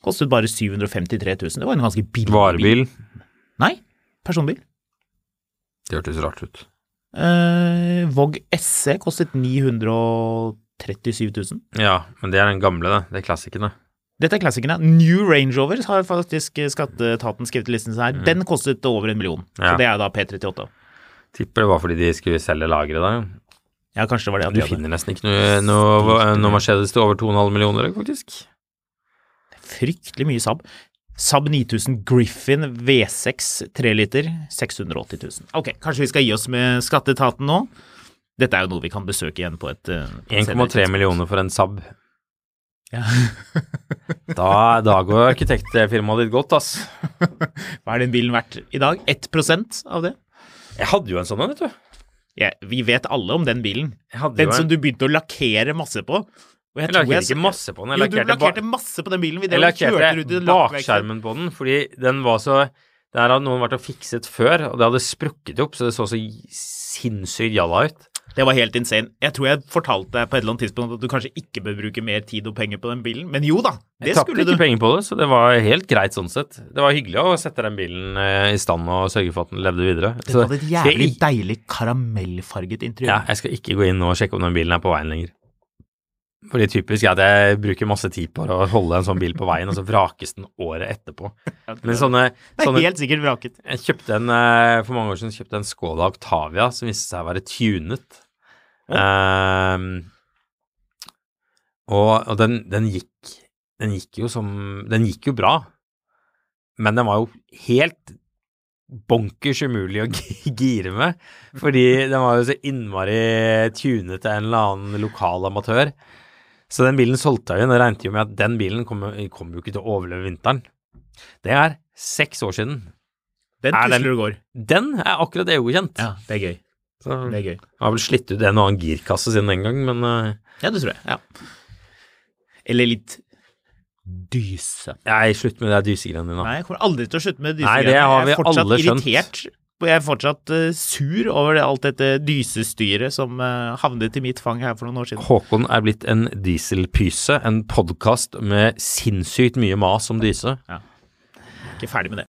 Speaker 2: Kostet bare 753 000. Det var en ganske billig bil.
Speaker 1: varebil.
Speaker 2: Nei, personbil.
Speaker 1: Det hørtes rart ut.
Speaker 2: Eh, Vog SC kostet 937 000.
Speaker 1: Ja, men det er den gamle, det. Det er klassikerne.
Speaker 2: Dette er klassikerne. New Range Rover har faktisk skatteetaten skrevet i listen sin her. Den kostet over en million.
Speaker 1: Mm. Ja.
Speaker 2: Så det er da P38.
Speaker 1: Tipper det var fordi de skulle selge lageret da.
Speaker 2: Ja, kanskje det var det
Speaker 1: Du
Speaker 2: de hadde.
Speaker 1: finner nesten ikke noe, noe, noe Mercedes til over 2,5 millioner, faktisk.
Speaker 2: Fryktelig mye Saab. Saab 9000 Griffin V6 3 liter 680 000. Ok, kanskje vi skal gi oss med skatteetaten nå? Dette er jo noe vi kan besøke igjen på et eh, på et senere
Speaker 1: 1,3
Speaker 2: tidspunkt.
Speaker 1: millioner for en Saab.
Speaker 2: Ja.
Speaker 1: Da, da går arkitektfirmaet ditt godt, ass.
Speaker 2: Hva er den bilen verdt i dag? 1 av det?
Speaker 1: Jeg hadde jo en sånn en, vet du.
Speaker 2: Ja, vi vet alle om den bilen.
Speaker 1: Jeg hadde
Speaker 2: Den
Speaker 1: jo
Speaker 2: som
Speaker 1: en.
Speaker 2: du begynte å lakkere masse på. Og
Speaker 1: Jeg lakkerte ikke masse på den. Jeg
Speaker 2: Jo, du
Speaker 1: lakkerte,
Speaker 2: lakkerte
Speaker 1: ba
Speaker 2: masse på den bilen. Vi
Speaker 1: jeg
Speaker 2: drev og kjørte rundt i
Speaker 1: lakkerte
Speaker 2: lakkverkstedet.
Speaker 1: bakskjermen på den, fordi den var så Der hadde noen vært og fikset før, og det hadde sprukket opp, så det så så sinnssykt jalla ut.
Speaker 2: Det var helt insane. Jeg tror jeg fortalte deg på et eller annet tidspunkt at du kanskje ikke bør bruke mer tid og penger på den bilen, men jo da, det
Speaker 1: Jeg tapte
Speaker 2: skulle du.
Speaker 1: ikke penger på det, så det var helt greit sånn sett. Det var hyggelig å sette den bilen eh, i stand og sørge for at den levde videre.
Speaker 2: Den hadde
Speaker 1: skal
Speaker 2: et
Speaker 1: jeg
Speaker 2: jævlig
Speaker 1: ikke-
Speaker 2: deilig karamellfarget
Speaker 1: ja,
Speaker 2: interiør.
Speaker 1: jeg skal ikke gå inn og sjekke om den bilen er på veien lenger. Fordi typisk er at jeg bruker masse tid på å holde en sånn bil på veien, og så vrakes den året etterpå. Men sånne,
Speaker 2: det er
Speaker 1: sånne
Speaker 2: helt sikkert vraket.
Speaker 1: Jeg kjøpte en eh, For mange år siden kjøpte jeg en Skoda Octavia som viste seg å være tunet. Ehm, og og den, den gikk Den gikk jo som Den gikk jo bra, men den var jo helt bonkers umulig å gi- gire med, fordi den var jo så innmari tunet til en eller annen lokal amatør. Så den bilen solgte jeg jo, og regnet jo med at den bilen kommer kom jo ikke til å overleve vinteren. Det er seks år siden.
Speaker 2: Den
Speaker 1: Er den-
Speaker 2: tusler og går.
Speaker 1: Den er akkurat EU-kjent.
Speaker 2: Ja, det er gøy.
Speaker 1: Så
Speaker 2: Det er gøy.
Speaker 1: har vel slitt ut en og annen girkasse siden den gang, men eh,
Speaker 2: Ja, det tror jeg. Ja. Eller litt dyse.
Speaker 1: Nei, slutt med de dysegreiene dine.
Speaker 2: Nei, jeg kommer aldri til å slutte med
Speaker 1: Nei,
Speaker 2: dysegreiene.
Speaker 1: det har
Speaker 2: jeg er
Speaker 1: vi
Speaker 2: fortsatt
Speaker 1: alle skjønt.
Speaker 2: irritert, og jeg er fortsatt eh, sur over det, alt dette dysestyret som eh, havnet i mitt fang her for noen år siden.
Speaker 1: Håkon er blitt en dieselpyse, en podkast med sinnssykt mye mas om dyse.
Speaker 2: Ikke ferdig med det.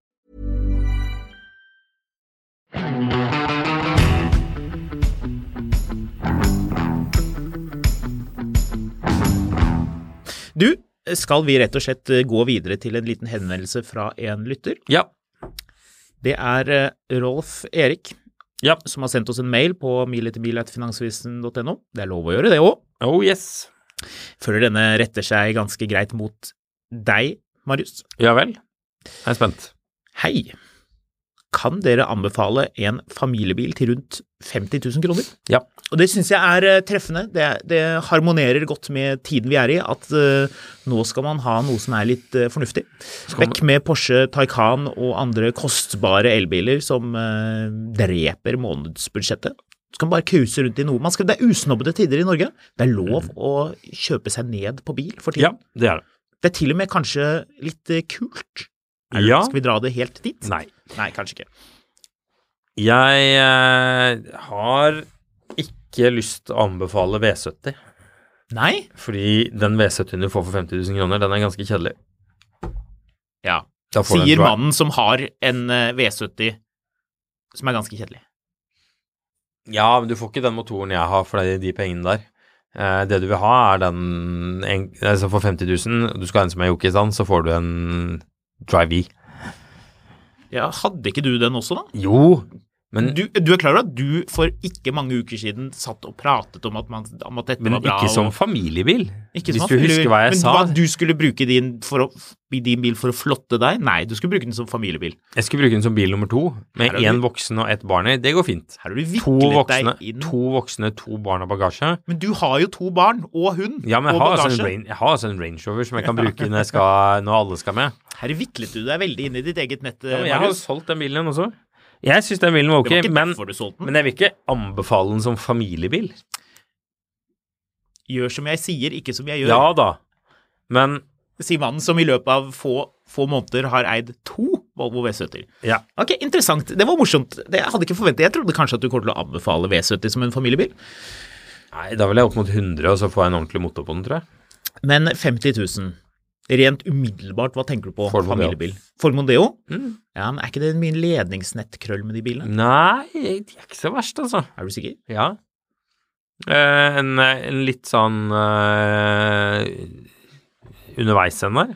Speaker 2: Du, skal vi rett og slett eh, gå videre til en liten henvendelse fra en lytter?
Speaker 1: Ja.
Speaker 2: Det er eh, Rolf Erik
Speaker 1: Ja.
Speaker 2: som har sendt oss en mail på miletermil.finansvisen.no. Det er lov å gjøre det òg.
Speaker 1: Oh yes.
Speaker 2: Føler denne retter seg ganske greit mot deg, Marius.
Speaker 1: Ja vel. Jeg er spent.
Speaker 2: Hei. Kan dere anbefale en familiebil til rundt 50 000 kroner?
Speaker 1: Ja.
Speaker 2: Og det syns jeg er eh, treffende. Det, det harmonerer godt med tiden vi er i, at eh, nå skal man ha noe som er litt eh, fornuftig. Vekk med Porsche Taycan og andre kostbare elbiler som eh, dreper månedsbudsjettet. Så kan man bare cruise rundt i noe. Man skal, det er usnobbede tider i Norge. Det er lov å kjøpe seg ned på bil for
Speaker 1: Ja,
Speaker 2: tiden.
Speaker 1: det er det.
Speaker 2: Det er til og med kanskje litt eh, kult. Er det-
Speaker 1: Ja.
Speaker 2: Skal vi dra det helt dit?
Speaker 1: Nei.
Speaker 2: Nei, kanskje ikke.
Speaker 1: Jeg eh, har ikke lyst til å anbefale V70,
Speaker 2: Nei?
Speaker 1: fordi den V70-en du får for 50 000 kroner, den er ganske kjedelig.
Speaker 2: Ja.
Speaker 1: Da får du en
Speaker 2: Sier
Speaker 1: dri-
Speaker 2: mannen som har en eh, V70 som er ganske kjedelig.
Speaker 1: Ja, men du får ikke den motoren jeg har for de, de pengene der. Eh, det du vil ha, er den en, altså For 50 000, du skal ha en som er yoke i stand, så får du en Drive E.
Speaker 2: Ja, hadde ikke du den også, da?
Speaker 1: Jo, men
Speaker 2: Du, du er klar over at du for ikke mange uker siden satt og pratet om at, man, om at dette
Speaker 1: Men
Speaker 2: var bra?
Speaker 1: ikke som
Speaker 2: og,
Speaker 1: familiebil.
Speaker 2: ikke
Speaker 1: Hvis
Speaker 2: som
Speaker 1: du
Speaker 2: familie-
Speaker 1: husker hva jeg
Speaker 2: men
Speaker 1: sa.
Speaker 2: Men du skulle bruke din, for å, i din bil for å flotte deg? Nei, du skulle bruke den som familiebil.
Speaker 1: Jeg skulle bruke den som bil nummer to, med
Speaker 2: Her er
Speaker 1: én
Speaker 2: du-
Speaker 1: voksen og ett barn i. Det går fint.
Speaker 2: Her har du
Speaker 1: To
Speaker 2: viklet
Speaker 1: voksne,
Speaker 2: deg inn.
Speaker 1: to voksne, to barn og bagasje.
Speaker 2: Men du har jo to barn og hund
Speaker 1: Ja, men jeg
Speaker 2: og
Speaker 1: har, altså en
Speaker 2: bagasje.
Speaker 1: Range, jeg har altså en Range Rover som jeg kan bruke når, jeg skal, når alle skal med.
Speaker 2: Her viklet du deg veldig inn i ditt eget nett,
Speaker 1: Ja, men jeg har
Speaker 2: Marius.
Speaker 1: solgt den bilen også. Jeg syns den bilen var ok,
Speaker 2: det var ikke
Speaker 1: men,
Speaker 2: derfor du solgte den.
Speaker 1: Mm. men jeg vil ikke anbefale den som familiebil.
Speaker 2: Gjør som jeg sier, ikke som jeg gjør.
Speaker 1: Ja da, men
Speaker 2: Sier mannen som i løpet av få, få måneder har eid to Volvo V70.
Speaker 1: ja.
Speaker 2: Ok, interessant. Det var morsomt. Det jeg hadde ikke forventet. Jeg trodde kanskje at du kom til å anbefale V70 som en familiebil,
Speaker 1: Nei, da vil jeg opp mot 100, og så får jeg en ordentlig motor på den, tror jeg.
Speaker 2: men 50 000. Rent umiddelbart, hva tenker du på?
Speaker 1: Ford Mondeo. Mm.
Speaker 2: familiebil? Ford Mondeo? Ja, men er ikke det mye ledningsnettkrøll med de bilene?
Speaker 1: Nei, de er ikke så verst, altså.
Speaker 2: Er du sikker?
Speaker 1: Ja. Eh, en, en litt sånn eh, underveis en der.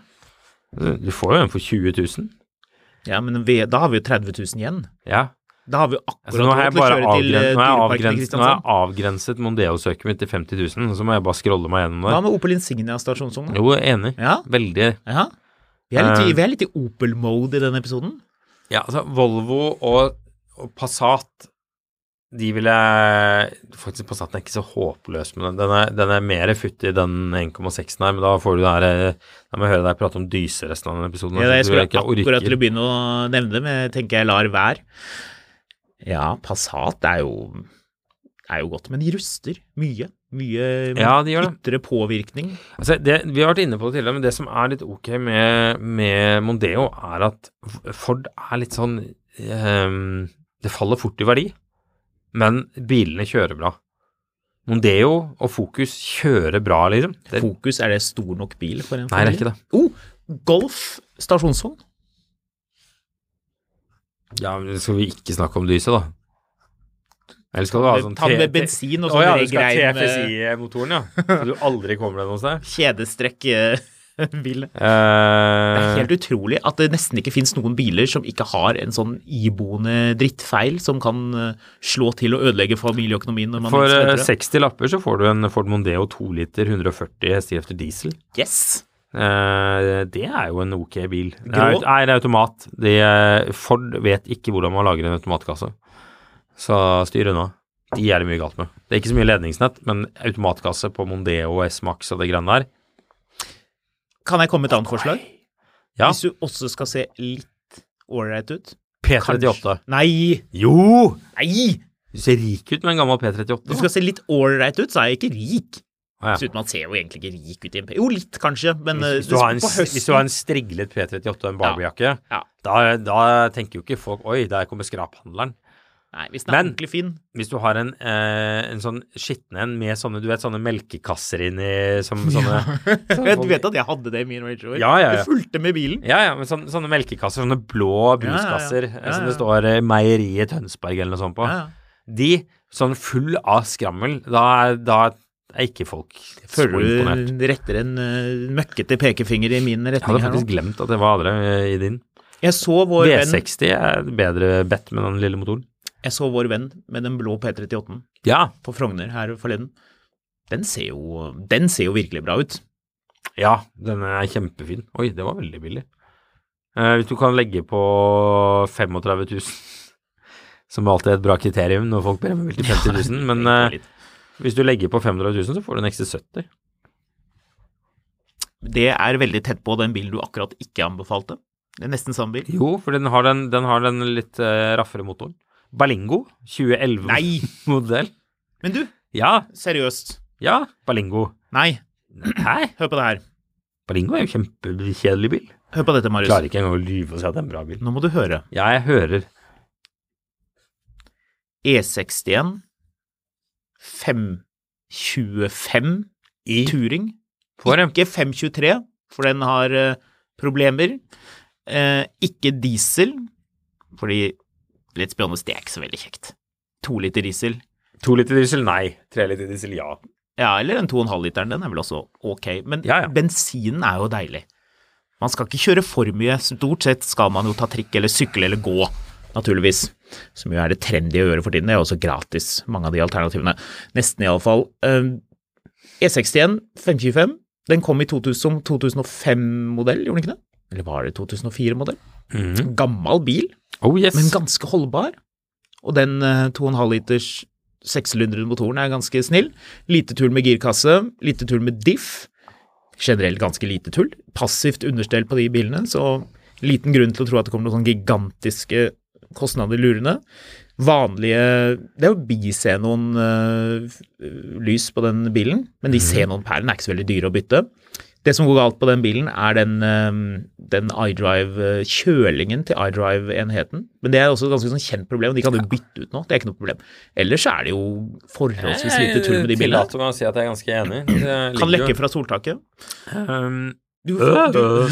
Speaker 1: Du får jo en for 20 000.
Speaker 2: Ja, men vi, da har vi jo 30 000 igjen.
Speaker 1: Ja.
Speaker 2: Da har vi jo
Speaker 1: Altså, nå
Speaker 2: akkurat
Speaker 1: har jeg
Speaker 2: råd til å
Speaker 1: bare
Speaker 2: kjøre til
Speaker 1: avgren-
Speaker 2: eh,
Speaker 1: nå har jeg
Speaker 2: Dyreparken i
Speaker 1: avgrenset, nå har jeg
Speaker 2: Kristiansand.
Speaker 1: avgrenset Mondeo-søket mitt til 50 000, så må jeg bare scrolle meg gjennom
Speaker 2: Hva
Speaker 1: der.
Speaker 2: med Opel Insignia stasjonsvogn?
Speaker 1: Jo, jeg er enig.
Speaker 2: Ja.
Speaker 1: Veldig.
Speaker 2: Ja. Vi er litt,
Speaker 1: Eh.
Speaker 2: i- vi er litt i Opel-mode i denne episoden.
Speaker 1: Ja, altså, Volvo og, og Passat de ville Faktisk, Passaten er ikke så håpløs med den. Den er, den er mer futtig, den 1,6-en her, men da får du det her eh, Da må jeg høre deg prate om dyse resten av den episoden.
Speaker 2: Ja, jeg
Speaker 1: altså,
Speaker 2: skulle
Speaker 1: du ikke orker.
Speaker 2: akkurat til å begynne å nevne det, men jeg tenker jeg lar være. Ja, Passat er jo, er jo godt, men de ruster mye. Mye
Speaker 1: Ja, de gjør det.
Speaker 2: ytre påvirkning.
Speaker 1: Altså, det, vi har vært inne på det tidligere, men det som er litt ok med, med Mondeo, er at Ford er litt sånn ehm, Det faller fort i verdi, men bilene kjører bra. Mondeo og Focus kjører bra, liksom. Det,
Speaker 2: Fokus, er det stor nok bil for en
Speaker 1: nei, det er ikke det.
Speaker 2: Oh, Golf stasjonsvogn.
Speaker 1: Ja, men Skal vi ikke snakke om lyset, da? Eller skal du ha sånn
Speaker 2: Ta den med
Speaker 1: T-
Speaker 2: bensin og
Speaker 1: Å
Speaker 2: sånn
Speaker 1: ja,
Speaker 2: oh,
Speaker 1: du skal ha
Speaker 2: grein eh,
Speaker 1: TFSI-motoren, ja. Så du aldri kommer deg noe sted.
Speaker 2: kjedestrekk eh, bil. Det er
Speaker 1: Eh,
Speaker 2: helt utrolig at det nesten ikke finnes noen biler som ikke har en sånn iboende drittfeil som kan eh, slå til og ødelegge familieøkonomien når man
Speaker 1: for
Speaker 2: minst
Speaker 1: eh,
Speaker 2: venter det.
Speaker 1: 60 lapper så får du en Ford Mondeo 2 liter 140 hestekrefter diesel.
Speaker 2: Yes!
Speaker 1: Eh, det er jo en ok bil. Det
Speaker 2: Grå?
Speaker 1: er, nei, det er automat. Det, Ford vet ikke hvordan man lager en automatkasse. Så styr unna. De er det mye galt med. Det er ikke så mye ledningsnett, men automatkasse på Mondeo og S-Max og det greiene der
Speaker 2: Kan jeg komme med et annet forslag?
Speaker 1: Ja.
Speaker 2: Hvis du også skal se litt ålreit ut.
Speaker 1: P38.
Speaker 2: Nei!
Speaker 1: Jo!
Speaker 2: Nei!
Speaker 1: Du ser rik ut med en gammel P38.
Speaker 2: Du skal se litt ålreit ut, så er jeg ikke rik.
Speaker 1: Ah, ja.
Speaker 2: Dessuten, man ser jo egentlig ikke rik ut i en P... Jo, litt kanskje, men eh,
Speaker 1: hvis, hvis, du har en,
Speaker 2: på høsten
Speaker 1: hvis du har en striglet P38 og en Barbie-jakke,
Speaker 2: Ja.
Speaker 1: da, da tenker jo ikke folk Oi, der kommer skraphandleren.
Speaker 2: Nei, hvis den er
Speaker 1: Men-
Speaker 2: ordentlig fin.
Speaker 1: Hvis du har en, eh, en sånn skitten en med sånne du vet, sånne melkekasser inni som sånne, sånne
Speaker 2: Du vet at jeg hadde det i min Range Rover?
Speaker 1: Ja, ja, ja.
Speaker 2: Det fulgte med bilen.
Speaker 1: Ja, ja, men sånne, sånne melkekasser, sånne blå
Speaker 2: Ja, ja, ja.
Speaker 1: bruskasser eh,
Speaker 2: Ja,
Speaker 1: som
Speaker 2: ja.
Speaker 1: det står eh, Meieriet Tønsberg eller noe sånt på.
Speaker 2: Ja, ja.
Speaker 1: De, sånn full av skrammel, da, er- da er ikke folk så
Speaker 2: Føler
Speaker 1: imponert.
Speaker 2: du retter en eh, møkkete pekefinger i min
Speaker 1: Jeg
Speaker 2: retning
Speaker 1: hadde
Speaker 2: her
Speaker 1: faktisk
Speaker 2: nå?
Speaker 1: glemt at det var andre eh, i din.
Speaker 2: Jeg så vår venn,
Speaker 1: V60 er bedre bedt med den lille motoren.
Speaker 2: jeg så vår venn med den blå P38-en
Speaker 1: Ja,
Speaker 2: på Frogner her forleden. Den ser jo, den ser jo virkelig bra ut.
Speaker 1: ja, den er kjempefin. Oi, det var veldig billig. Eh, hvis du kan legge på 35 000, som alltid er et bra kriterium når folk ber om bil til 50 000, men
Speaker 2: Det går
Speaker 1: eh,
Speaker 2: litt.
Speaker 1: hvis du legger på 500 000, så får du en ekstra 70.
Speaker 2: Det er veldig tett på den bilen du akkurat ikke anbefalte. Det er nesten samme bil.
Speaker 1: Jo, for den har den, den, har den litt eh, raffere motoren. Berlingo
Speaker 2: Nei!
Speaker 1: 2011-modell.
Speaker 2: Men du,
Speaker 1: Ja,
Speaker 2: seriøst.
Speaker 1: ja, Berlingo.
Speaker 2: Nei,
Speaker 1: Hæ?
Speaker 2: hør på det her.
Speaker 1: Berlingo er jo kjempekjedelig bil.
Speaker 2: Hør på dette, Marius.
Speaker 1: Klarer ikke engang å lyve og si at det er en bra bil.
Speaker 2: Nå må du høre.
Speaker 1: Ja, jeg hører.
Speaker 2: E61 525
Speaker 1: I
Speaker 2: Turing.
Speaker 1: Får en
Speaker 2: Ikke 523, for den har eh, problemer. Eh, ikke diesel, fordi litt spennende, det er ikke så veldig kjekt. To liter diesel.
Speaker 1: to liter diesel, nei. Tre liter diesel, ja.
Speaker 2: Ja, eller den 2,5-literen, den er vel også ok. Men
Speaker 1: Ja, ja.
Speaker 2: bensinen er jo deilig. Man skal ikke kjøre for mye. Stort sett skal man jo ta trikk eller sykle eller gå, naturligvis. Som jo er det trendy å gjøre for tiden. Det er jo også gratis, mange av de alternativene. Nesten iallfall. E E61 525, den kom i 2000, som 2005-modell, gjorde den ikke det? Eller var det 2004-modell? Mhm. Gammel bil,
Speaker 1: Oh yes.
Speaker 2: men ganske holdbar. Og den eh, 2,5 liters sekssylindrede motoren er ganske snill. Lite tull med girkasse, lite tull med diff. Generelt ganske lite tull. Passivt understell på de bilene, så liten grunn til å tro at det kommer noen sånne gigantiske kostnader lurende. Vanlige Det er jo bisenoen uh, lys på den bilen, men
Speaker 1: Mhm.
Speaker 2: de xenonperlene er ikke så veldig dyre å bytte. Det som går galt på den bilen, er den, eh, den iDrive-kjølingen til iDrive-enheten. Men det er også et ganske sånn kjent problem, og de kan du bytte ut nå. Det er ikke noe problem. Ellers så er det jo forholdsvis lite tull med de bilene.
Speaker 1: Tillater meg å si at jeg er ganske enig. Det
Speaker 2: Kan
Speaker 1: ligger
Speaker 2: lekke
Speaker 1: jo-
Speaker 2: fra soltaket.
Speaker 1: Um,
Speaker 2: Du får,
Speaker 1: øh.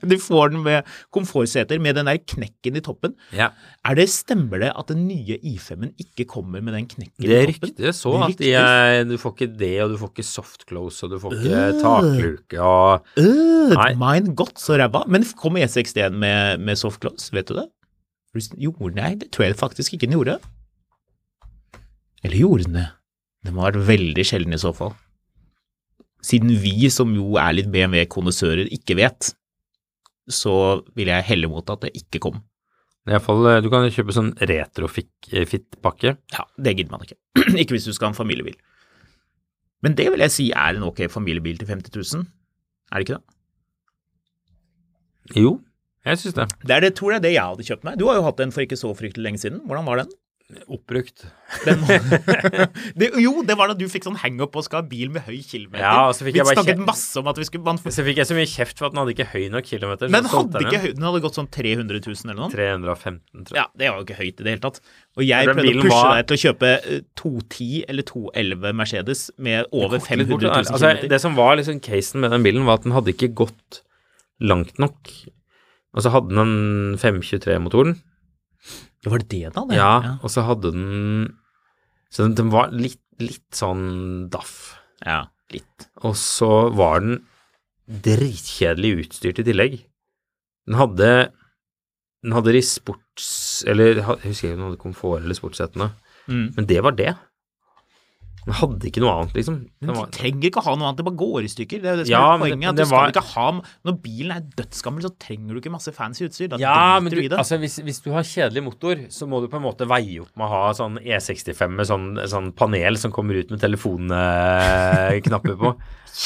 Speaker 2: du, du får den med komfortseter med den der knekken i toppen.
Speaker 1: ja.
Speaker 2: Er det, stemmer det at den nye i5-en ikke kommer med den knekken
Speaker 1: Det
Speaker 2: i toppen?
Speaker 1: ryktet så
Speaker 2: Det
Speaker 1: at de,
Speaker 2: ryktes.
Speaker 1: er- du får ikke det, og du får ikke soft close, og du får ikke takluke og
Speaker 2: Øh,
Speaker 1: Nei.
Speaker 2: mine godt så ræva. Men kom E61 med, med soft close, vet du det? Gjorde den Nei, det tror jeg faktisk ikke den gjorde. Eller gjorde den det? Det må ha vært veldig sjelden i så fall. Siden vi, som jo er litt BMW-kondisører, ikke vet, så vil jeg helle mot at det ikke kom.
Speaker 1: I hvert fall, eh, Du kan kjøpe sånn eh, retrofit-pakke.
Speaker 2: Ja, det gidder man ikke. ikke hvis du skal ha en familiebil. Men det vil jeg si er en ok familiebil til 50 000. Er det ikke det?
Speaker 1: Jo, jeg syns det.
Speaker 2: Det er det, tror jeg det jeg hadde kjøpt meg. Du har jo hatt en for ikke så fryktelig lenge siden. Hvordan var den?
Speaker 1: Oppbrukt.
Speaker 2: den det, jo, det var da du fikk sånn hangup og skal ha bil med høy kilometer.
Speaker 1: Ja, og så fikk
Speaker 2: vi
Speaker 1: jeg bare
Speaker 2: snakket
Speaker 1: kje-
Speaker 2: masse om at vi skulle man,
Speaker 1: Så fikk jeg så mye kjeft for at den hadde ikke høy nok kilometer. så
Speaker 2: Men
Speaker 1: solgte jeg
Speaker 2: hadde ikke
Speaker 1: den.
Speaker 2: høy, den hadde gått sånn 300 000 eller noe?
Speaker 1: 315, tror jeg.
Speaker 2: Ja, det var jo ikke høyt i det hele tatt. Og jeg
Speaker 1: Den
Speaker 2: prøvde å
Speaker 1: bilen
Speaker 2: pushe
Speaker 1: var-
Speaker 2: deg til å kjøpe eh, 210 eller 211 Mercedes med over 500
Speaker 1: Litt bort,
Speaker 2: 000
Speaker 1: da.
Speaker 2: kilometer.
Speaker 1: altså, det som var liksom casen med den bilen, var at den hadde ikke gått langt nok. Og så hadde den den 523-motoren.
Speaker 2: Ja, Var det det da? Det?
Speaker 1: Ja, og så hadde den Så den, den var litt, litt sånn daff.
Speaker 2: ja. Litt.
Speaker 1: Og så var den dritkjedelig utstyrt i tillegg. Den hadde Den hadde de sports... Eller ha- jeg husker ikke om den hadde komfort eller sportssettene,
Speaker 2: Mm.
Speaker 1: men det var det. Den hadde ikke noe annet, liksom. Den
Speaker 2: Men du
Speaker 1: var,
Speaker 2: trenger ikke å ha noe annet, det bare går i stykker. Det er jo det som
Speaker 1: Ja, men
Speaker 2: er
Speaker 1: det-
Speaker 2: poenget.
Speaker 1: men
Speaker 2: At du
Speaker 1: det var-
Speaker 2: skal ikke ha, når bilen er dødsgammel, så trenger du ikke masse fancy utstyr. Da
Speaker 1: Ja, men
Speaker 2: driter
Speaker 1: du,
Speaker 2: du i det.
Speaker 1: altså, hvis, hvis du har kjedelig motor, så må du på en måte veie opp med å ha sånn E65 med sånn, sånn panel som kommer ut med telefonknapper på.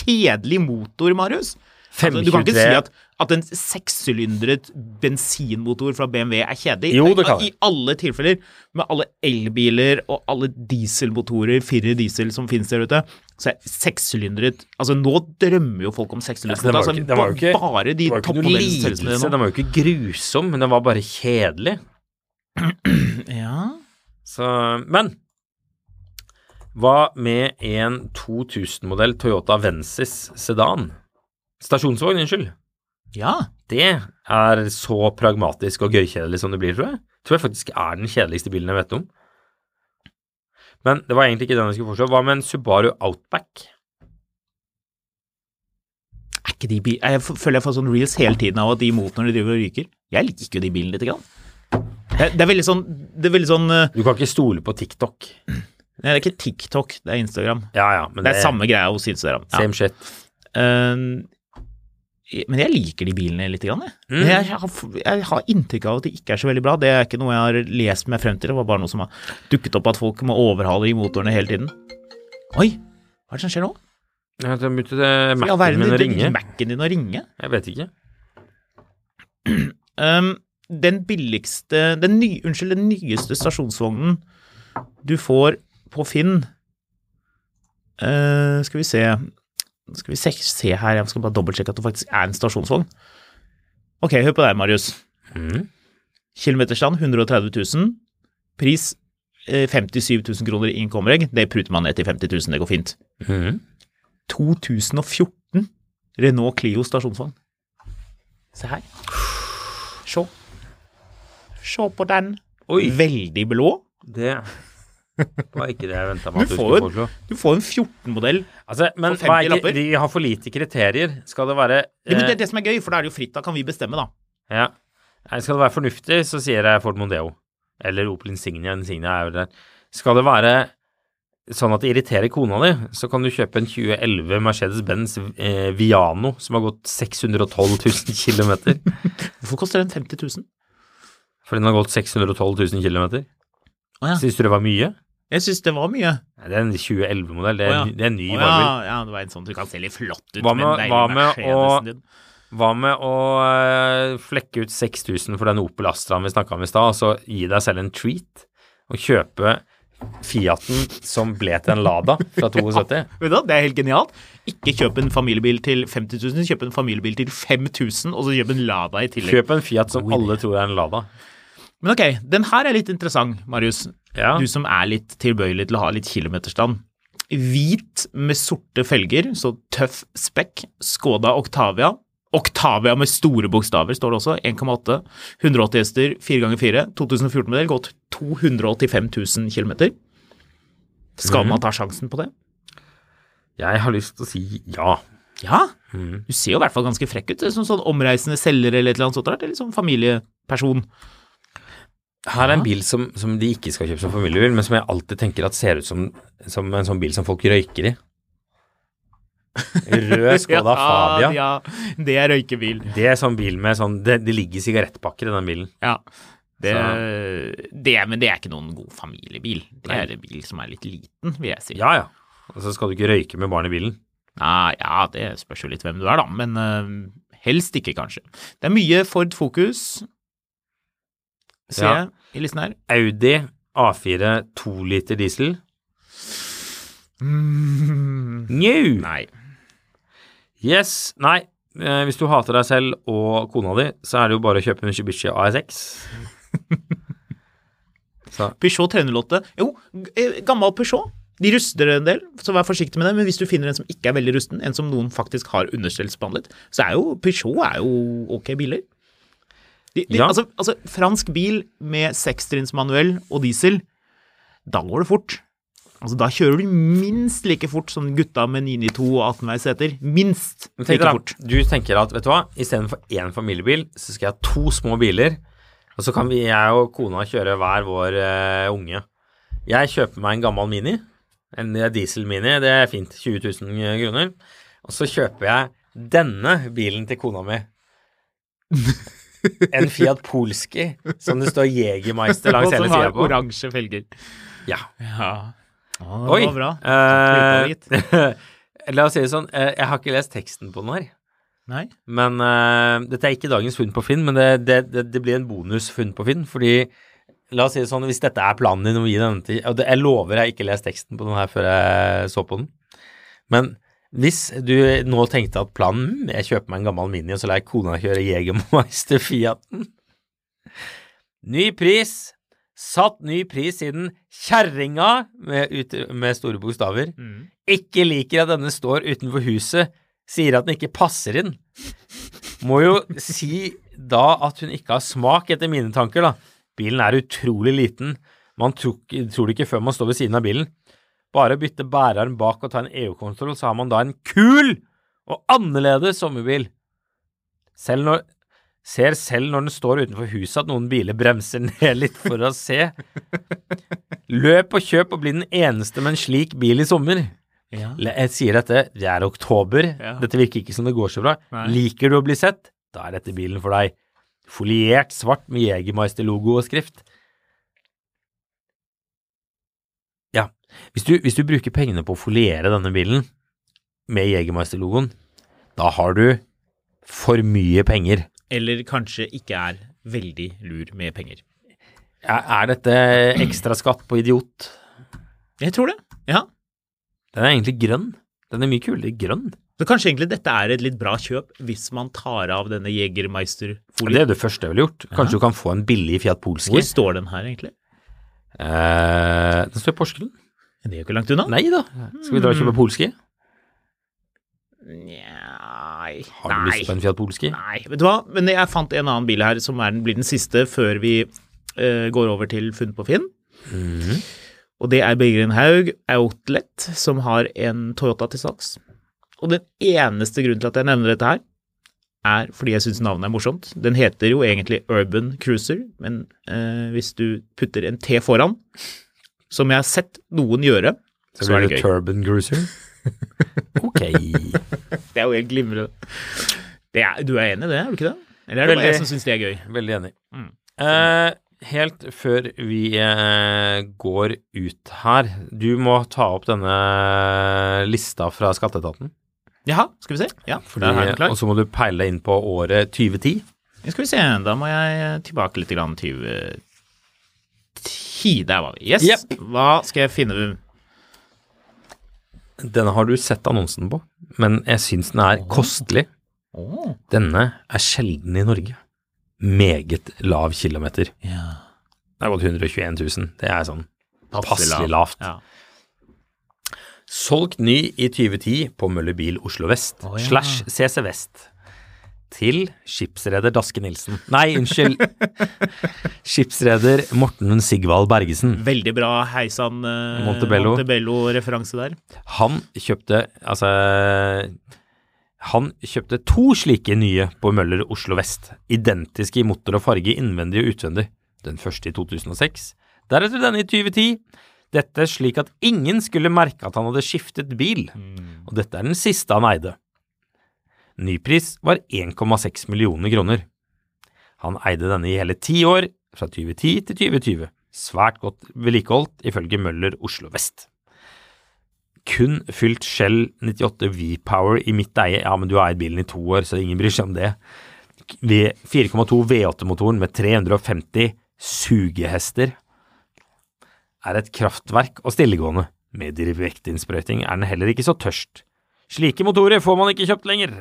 Speaker 2: Kjedelig motor, Marius. Altså, du kan
Speaker 1: 523.
Speaker 2: ikke si at, at en sekssylindret bensinmotor fra BMW er kjedelig.
Speaker 1: Jo,
Speaker 2: Nei,
Speaker 1: det kan
Speaker 2: I
Speaker 1: jeg.
Speaker 2: alle tilfeller, med alle elbiler og alle dieselmotorer, firre diesel som finnes der ute, så er sekssylindret Altså, nå drømmer jo folk om
Speaker 1: Altså, den
Speaker 2: sekssylindret.
Speaker 1: var jo
Speaker 2: Altså,
Speaker 1: ikke- den var jo ikke-
Speaker 2: bare de
Speaker 1: det var jo ikke noe
Speaker 2: toppmodellene selges
Speaker 1: lidelse, den
Speaker 2: med nå.
Speaker 1: var jo ikke grusom, men den var bare kjedelig.
Speaker 2: Ja.
Speaker 1: Så, men hva med en 2000-modell Toyota Vensis sedan? Stasjonsvogn, unnskyld.
Speaker 2: ja.
Speaker 1: Det er så pragmatisk og gøykjedelig som det blir, tror jeg. Tror jeg faktisk er den kjedeligste bilen jeg vet om. Men det var egentlig ikke den jeg skulle foreslå. Hva med en Subaru Outback?
Speaker 2: Er ikke de bil... Jeg f- føler jeg får sånn reels hele tiden av at de motorene driver og ryker. Jeg liker jo de bilene lite grann. Det det er veldig sånn, det er veldig sånn eh,
Speaker 1: Du kan ikke stole på TikTok.
Speaker 2: Nei, det er ikke TikTok, det er Instagram.
Speaker 1: Ja, ja, men
Speaker 2: Det er samme greia hos Instagram. Ja.
Speaker 1: Same shit.
Speaker 2: Eh, men jeg liker de bilene lite grann, jeg.
Speaker 1: Mm.
Speaker 2: Men Jeg, har, jeg har inntrykk av at de ikke er så veldig bra. Det er ikke noe jeg har lest meg frem til. Det var bare noe som har dukket opp at folk må overhale de motorene hele tiden. Oi, hva er det som skjer nå?
Speaker 1: Jeg har begynt eh,
Speaker 2: For i all
Speaker 1: Mac-en
Speaker 2: verden,
Speaker 1: min å
Speaker 2: det- det-
Speaker 1: ringe.
Speaker 2: Mac-en din å ringe?
Speaker 1: Jeg vet ikke.
Speaker 2: Ehm, den billigste den ny, Unnskyld, den nyeste stasjonsvognen du får på Finn eh, Skal vi se Skal vi se, se her, jeg skal bare dobbeltsjekke at det faktisk er en stasjonsvogn. Ok, hør på deg, Marius.
Speaker 1: Mhm.
Speaker 2: Kilometerstand 130 000. Pris eh, 57 000 kroner i innkomreg. Det pruter man ned til 50 000, det går fint.
Speaker 1: Mhm.
Speaker 2: 2014 Renault Clio stasjonsvogn. Se her. Se. Se på den.
Speaker 1: Oi.
Speaker 2: Veldig blå.
Speaker 1: Det Det var ikke det jeg venta meg at
Speaker 2: Du
Speaker 1: du skulle
Speaker 2: får jo
Speaker 1: foreslå.
Speaker 2: en, du får en 14-modell.
Speaker 1: Altså, men
Speaker 2: For 50
Speaker 1: hva er
Speaker 2: lapper?
Speaker 1: ikke, de har for lite kriterier. Skal det være
Speaker 2: Ja, men
Speaker 1: eh,
Speaker 2: det er det som er gøy, for da er det jo fritt. Da kan vi bestemme, da.
Speaker 1: Ja. Nei, skal det være fornuftig, så sier jeg Ford Mondeo. Eller Opel Insignia. Insignia er jo der. Skal det være sånn at det irriterer kona di, så kan du kjøpe en 2011 Mercedes-Benz eh, Viano som har gått 612 000 km.
Speaker 2: Hvorfor koster den 50 000?
Speaker 1: For den har gått 612 000 km.
Speaker 2: Å ja.
Speaker 1: Syns du det var mye?
Speaker 2: Jeg syns det var mye.
Speaker 1: Nei, det er en 2011-modell. Det, er
Speaker 2: Å ja.
Speaker 1: en- det er en ny
Speaker 2: Å
Speaker 1: varebil.
Speaker 2: ja, ja, det var en sånn du kan se litt flott ut
Speaker 1: Hva med-
Speaker 2: med,
Speaker 1: hva med å-
Speaker 2: din.
Speaker 1: Hva med å eh, flekke ut 6000 for den Opel Astraen vi snakka om i stad, og så gi deg selv en treat og kjøpe Fiaten som ble til en Lada fra 72?
Speaker 2: Vet du hva, Det er helt genialt. Ikke kjøp en familiebil til 50 000, kjøp en familiebil til 5000, og så kjøp en Lada i tillegg.
Speaker 1: Kjøp en Fiat som alle tror er en Lada.
Speaker 2: Men ok, den her er litt interessant, Marius.
Speaker 1: Ja.
Speaker 2: Du som er litt tilbøyelig til å ha litt kilometerstand. Hvit med sorte felger, så tøff spekk. Skoda Octavia. Octavia med store bokstaver, står det også. 1,8. 180 hester, 4 ganger 4. 2014-modell, gått 285 000 km. Skal man ta sjansen på det?
Speaker 1: Jeg har lyst til å si ja.
Speaker 2: Ja. Mhm. Du ser jo i hvert fall ganske frekk ut. det er Som sånn omreisende selger eller et eller annet sånt. rart, Eller sånn familieperson.
Speaker 1: Her er en bil som, som de ikke skal kjøpe som familiebil, men som jeg alltid tenker at ser ut som, som en sånn bil som folk røyker i. Rød Skoda Fabia.
Speaker 2: Ja, ja, det er røykebil.
Speaker 1: Det er sånn bil med sånn Det, det ligger sigarettpakker i den bilen.
Speaker 2: Ja. Det, det, men det er ikke noen god familiebil. Det er en bil som er litt liten, vil jeg si.
Speaker 1: Ja ja. Og så skal du ikke røyke med barn i bilen.
Speaker 2: Nei, ja, det spørs jo litt hvem du er, da. Men eh, helst ikke, kanskje. Det er mye Ford Focus, ser
Speaker 1: Ja.
Speaker 2: jeg i listen her.
Speaker 1: Audi A4 2 liter diesel. New!
Speaker 2: Nei.
Speaker 1: Yes. Nei. Eh, hvis du hater deg selv og kona di, så er det jo bare å kjøpe en Mitsubishi ASX. så
Speaker 2: Peugeot 308 Jo, g- eh, gammel Peugeot. De ruster en del, så vær forsiktig med det. Men hvis du finner en som ikke er veldig rusten, en som noen faktisk har understellsbehandlet, så er jo Peugeot er jo ok biler. De, de,
Speaker 1: Ja.
Speaker 2: altså, altså, fransk bil med sekstrinns manuell og diesel, da går det fort. Altså, da kjører du minst like fort som gutta med 992 og 18 veis seter. Minst
Speaker 1: Men
Speaker 2: like
Speaker 1: tenk deg da,
Speaker 2: fort.
Speaker 1: Du tenker at vet du hva, istedenfor én familiebil, så skal jeg ha to små biler. Og så kan vi, jeg og kona kjøre hver vår eh, unge. Jeg kjøper meg en gammel Mini. En diesel-Mini. Det er fint. 20 000 kroner. Og så kjøper jeg denne bilen til kona mi. En Fiat Polski som det står Jegermeister
Speaker 2: Og
Speaker 1: langs hele
Speaker 2: som Sånn har
Speaker 1: sida på.
Speaker 2: oransje felger.
Speaker 1: Ja.
Speaker 2: Ja. Å, det
Speaker 1: Oi.
Speaker 2: var bra.
Speaker 1: eh, la oss si det sånn, eh, jeg har ikke lest teksten på den her.
Speaker 2: Nei?
Speaker 1: Men eh, dette er ikke dagens funn på Finn, men det, det, det, det blir en bonusfunn på Finn. Fordi, la oss si det sånn, hvis dette er planen din om å gi denne til Og det, jeg lover jeg har ikke lest teksten på den her før jeg så på den. Men hvis du nå tenkte at planen «Hm, Jeg kjøper meg en gammel Mini, og så lar jeg kona kjøre Jegermeister Fiaten. Ny pris. Satt ny pris siden kjerringa, med, ut- med store bokstaver, ikke liker at denne står utenfor huset, sier at den ikke passer inn. Må jo si da at hun ikke har smak, etter mine tanker, da. Bilen er utrolig liten. Man tror, ikke- tror det ikke før man står ved siden av bilen. Bare bytte bæreren bak og ta en EU-kontroll, så har man da en kul og annerledes sommerbil. Selv når Ser selv når den står utenfor huset at noen biler bremser ned litt for å se. Løp og kjøp og bli den eneste med en slik bil i sommer.
Speaker 2: Ja.
Speaker 1: Le- Jeg sier dette, det er oktober,
Speaker 2: Ja.
Speaker 1: dette virker ikke som det går så bra.
Speaker 2: Nei.
Speaker 1: Liker du å bli sett? Da er dette bilen for deg. Foliert svart med Jegermeister-logo og skrift. Ja, hvis du, hvis du bruker pengene på å foliere denne bilen med Jegermeister-logoen, da har du for mye penger.
Speaker 2: eller kanskje ikke er veldig lur med penger.
Speaker 1: Er, er dette ekstraskatt på idiot?
Speaker 2: Jeg tror det. Ja.
Speaker 1: Den er egentlig grønn. Den er mye kulere grønn.
Speaker 2: Så kanskje egentlig dette er et litt bra kjøp hvis man tar av denne
Speaker 1: Det
Speaker 2: Jegermeister-folien.
Speaker 1: er det første jeg ville gjort. Kanskje du kan få en billig Fiat Polski.
Speaker 2: Hvor står den her, egentlig?
Speaker 1: Eh, den står i Porsgrunn.
Speaker 2: Det er jo ikke langt unna.
Speaker 1: Nei da. Skal vi dra og kjøpe polski?
Speaker 2: Nei
Speaker 1: Har du lyst på en Fiat Polski?
Speaker 2: Nei. Vet du hva, men jeg fant en annen bil her
Speaker 1: Mhm.
Speaker 2: som er den, blir den siste før vi eh, går over til Funn på Finn. Og det er Birgren Haug Outlet, som har en Toyota til salgs. Og den eneste grunnen til at jeg nevner dette her, er fordi jeg syns navnet er morsomt. Den heter jo egentlig Urban Cruiser, men eh, hvis du putter en T foran, som jeg har sett noen gjøre,
Speaker 1: Så
Speaker 2: så
Speaker 1: blir
Speaker 2: er
Speaker 1: det
Speaker 2: det gøy.
Speaker 1: Turban Cruiser. Ok.
Speaker 2: Det er jo helt glimrende. Det er, du er enig i det, er du ikke det? Eller er det
Speaker 1: Veldig.
Speaker 2: bare jeg som syns det er gøy?
Speaker 1: Veldig enig.
Speaker 2: Mm.
Speaker 1: Eh, helt før vi eh, går ut her, du må ta opp denne lista fra skatteetaten.
Speaker 2: Jaha, skal vi se. Ja,
Speaker 1: Fordi,
Speaker 2: der har jeg den
Speaker 1: og
Speaker 2: klar.
Speaker 1: så må du peile inn på året 2010.
Speaker 2: Ja, Skal vi se, da må jeg eh, tilbake litt grann. 2010, der var vi. Yes.
Speaker 1: Yep.
Speaker 2: Hva skal jeg finne
Speaker 1: Denne har du sett annonsen på, men jeg syns den er kostelig.
Speaker 2: Åh,
Speaker 1: Denne er sjelden i Norge. Meget lav kilometer.
Speaker 2: ja.
Speaker 1: Det er gått 121 000. Det er sånn
Speaker 2: Passelig
Speaker 1: passelig
Speaker 2: lav.
Speaker 1: lavt.
Speaker 2: Ja.
Speaker 1: Solgt ny i 2010 på Møller Bil Oslo Vest
Speaker 2: Å, ja.
Speaker 1: slash CC Vest til skipsreder Daske Nilsen. Nei, unnskyld. skipsreder Morten Sigvald Bergesen.
Speaker 2: Veldig bra heisan eh,
Speaker 1: Montebello.
Speaker 2: Montebello-referanse der.
Speaker 1: Han kjøpte altså han kjøpte to slike nye på Møller Oslo Vest, identiske i motor og farge innvendig og utvendig. Den første i 2006, deretter denne i 2010. Dette slik at ingen skulle merke at han hadde skiftet bil, og dette er den siste han eide. Nypris var 1,6 millioner kroner. Han eide denne i hele ti år, fra 2010 til 2020. Svært godt vedlikeholdt, ifølge Møller Oslo Vest kun fylt Shell 98 V-Power i mitt eie. Ja, men du har eid bilen i to år, så ingen bryr seg om det. V- 4,2 V8-motoren med 350 sugehester er et kraftverk og stillegående. Med direkteinnsprøyting er den heller ikke så tørst. Slike motorer får man ikke kjøpt lenger.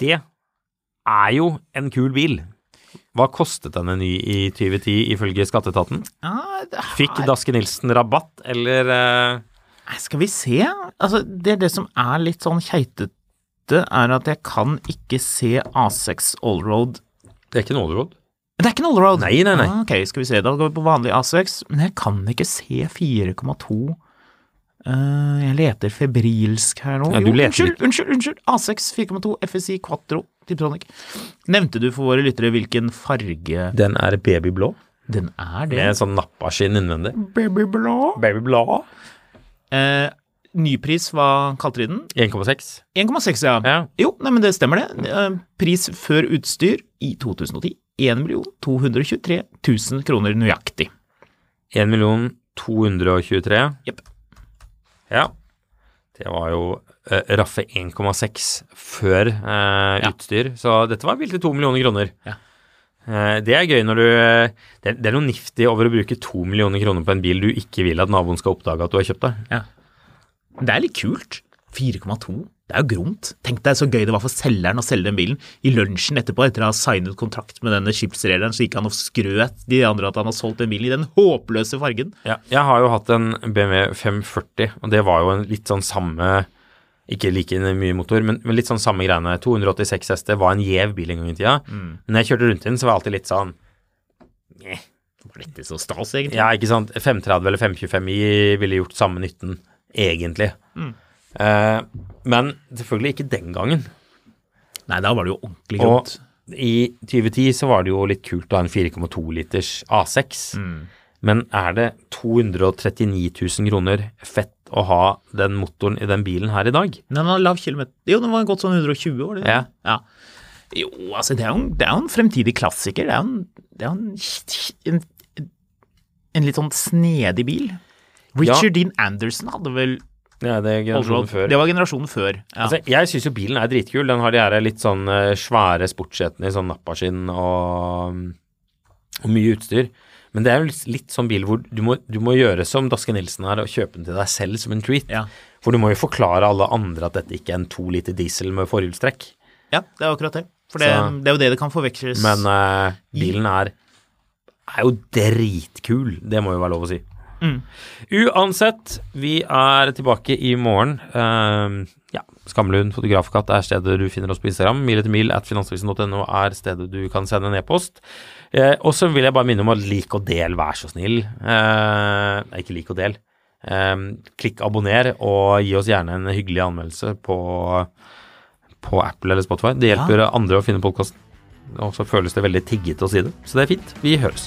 Speaker 1: Det er jo en kul bil. Hva kostet denne ny i 2010 ifølge skatteetaten?
Speaker 2: Ja, det her-
Speaker 1: Fikk Daske Nilsen rabatt, eller eh,
Speaker 2: Nei, Skal vi se? Altså, det, er det som er litt sånn keitete, er at jeg kan ikke se A6 allroad.
Speaker 1: Det er ikke en Olderod.
Speaker 2: Det er ikke en allroad!
Speaker 1: Nei, nei, nei.
Speaker 2: Ah, ok, skal vi se. Da går vi på vanlig A6. Men jeg kan ikke se 4,2 Eh, Jeg leter febrilsk her nå.
Speaker 1: Ja, du
Speaker 2: Jo,
Speaker 1: leter
Speaker 2: unnskyld,
Speaker 1: ikke.
Speaker 2: unnskyld, unnskyld! A6 4,2 FSI Quatro Tiptronic. Nevnte du for våre lyttere hvilken farge
Speaker 1: Den er babyblå,
Speaker 2: den er, det?
Speaker 1: med sånn nappaskinn innvendig.
Speaker 2: Babyblå.
Speaker 1: Babyblå?
Speaker 2: Eh, nypris, hva kalte de den?
Speaker 1: 1,6.
Speaker 2: 1,6, ja.
Speaker 1: Ja.
Speaker 2: Jo, nei, men det stemmer det. Eh, Pris før utstyr i 2010 1 223 000 kroner nøyaktig.
Speaker 1: 1 223.
Speaker 2: Jepp.
Speaker 1: Ja. Det var jo eh, raffe 1,6 før eh, utstyr, så dette var bildet 2 millioner kroner.
Speaker 2: Ja.
Speaker 1: Eh, det er gøy når du eh, det, det er noe nifty over å bruke 2 millioner kroner på en bil du ikke vil at naboen skal oppdage at du har kjøpt deg.
Speaker 2: Det er litt kult. 4,2. Det er jo gromt. Tenk deg så gøy det var for selgeren å selge den bilen. I lunsjen etterpå, etter å ha signet kontrakt med denne skipsrederen, så gikk han og skrøt de andre at han har solgt den bilen i den håpløse fargen.
Speaker 1: Ja, jeg har jo hatt en BMW 540, og det var jo en litt sånn samme Ikke like mye motor, men, men litt sånn samme greiene. 286 hester var en gjev bil en gang i tida. Men når jeg kjørte rundt i den, så var jeg alltid litt sånn
Speaker 2: Var dette så stas, egentlig?
Speaker 1: Ja, ikke sant. 530 eller 525 i ville gjort samme nytten, egentlig. Eh, men selvfølgelig ikke den gangen.
Speaker 2: Nei, da var det jo ordentlig
Speaker 1: Og
Speaker 2: gromt.
Speaker 1: i 2010 så var det jo litt kult å ha en 4,2 liters A6. Men er det 239 000 kroner fett å ha den motoren i den bilen her i dag?
Speaker 2: Den var lav kilometer Jo, den var gått sånn 120 år, det.
Speaker 1: Ja.
Speaker 2: Jo, altså, det er jo en, det er jo en fremtidig klassiker. Det er jo en, det er jo en, en, en litt sånn snedig bil. Richard Dean Anderson hadde vel
Speaker 1: Ja, det er generasjonen før.
Speaker 2: Det var generasjonen før. Ja.
Speaker 1: Altså, jeg syns jo bilen er dritkul. Den har de her litt sånn eh, svære sportssetene i sånn nappaskinn og, og mye utstyr. Men det er jo litt, litt sånn bil hvor du må, du må gjøre som Daske Nilsen her og kjøpe den til deg selv som en treat.
Speaker 2: Ja.
Speaker 1: For du må jo forklare alle andre at dette ikke er en to liter diesel med forhjulstrekk.
Speaker 2: ja, det er akkurat det. For det,
Speaker 1: Så-
Speaker 2: det er jo det det kan forveksles
Speaker 1: Men eh, bilen er, er jo dritkul, det må jo være lov å si. Uansett, vi er tilbake i morgen. Um, ja, Skamlund fotografkatt er stedet du finner oss på Instagram. Mil etter mil at finansavisen.no er stedet du kan sende en e-post. Eh, og så vil jeg bare minne om at lik og del, vær så snill. Eh, nei, ikke lik og del. Eh, klikk abonner, og gi oss gjerne en hyggelig anmeldelse på, på Apple eller Spotify. Det hjelper andre å finne podkasten. Og så føles det veldig tiggete å si det. Så det er fint. Vi høres.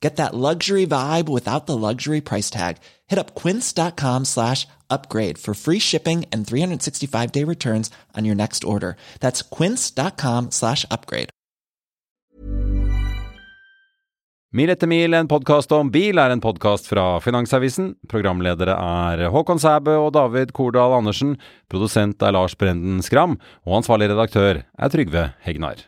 Speaker 3: Get that luxury vibe without the luxury price tag. Hit up quince.com slash upgrade for free shipping and 365 day returns on your next order. That's quince.com slash upgrade.
Speaker 4: Mil etter mil, en podkast om bil, er en podkast fra Finansavisen. Programledere er Håkon Sæbø og David Kordal Andersen. Produsent er Lars Brenden Skram. Og ansvarlig redaktør er Trygve Hegnar.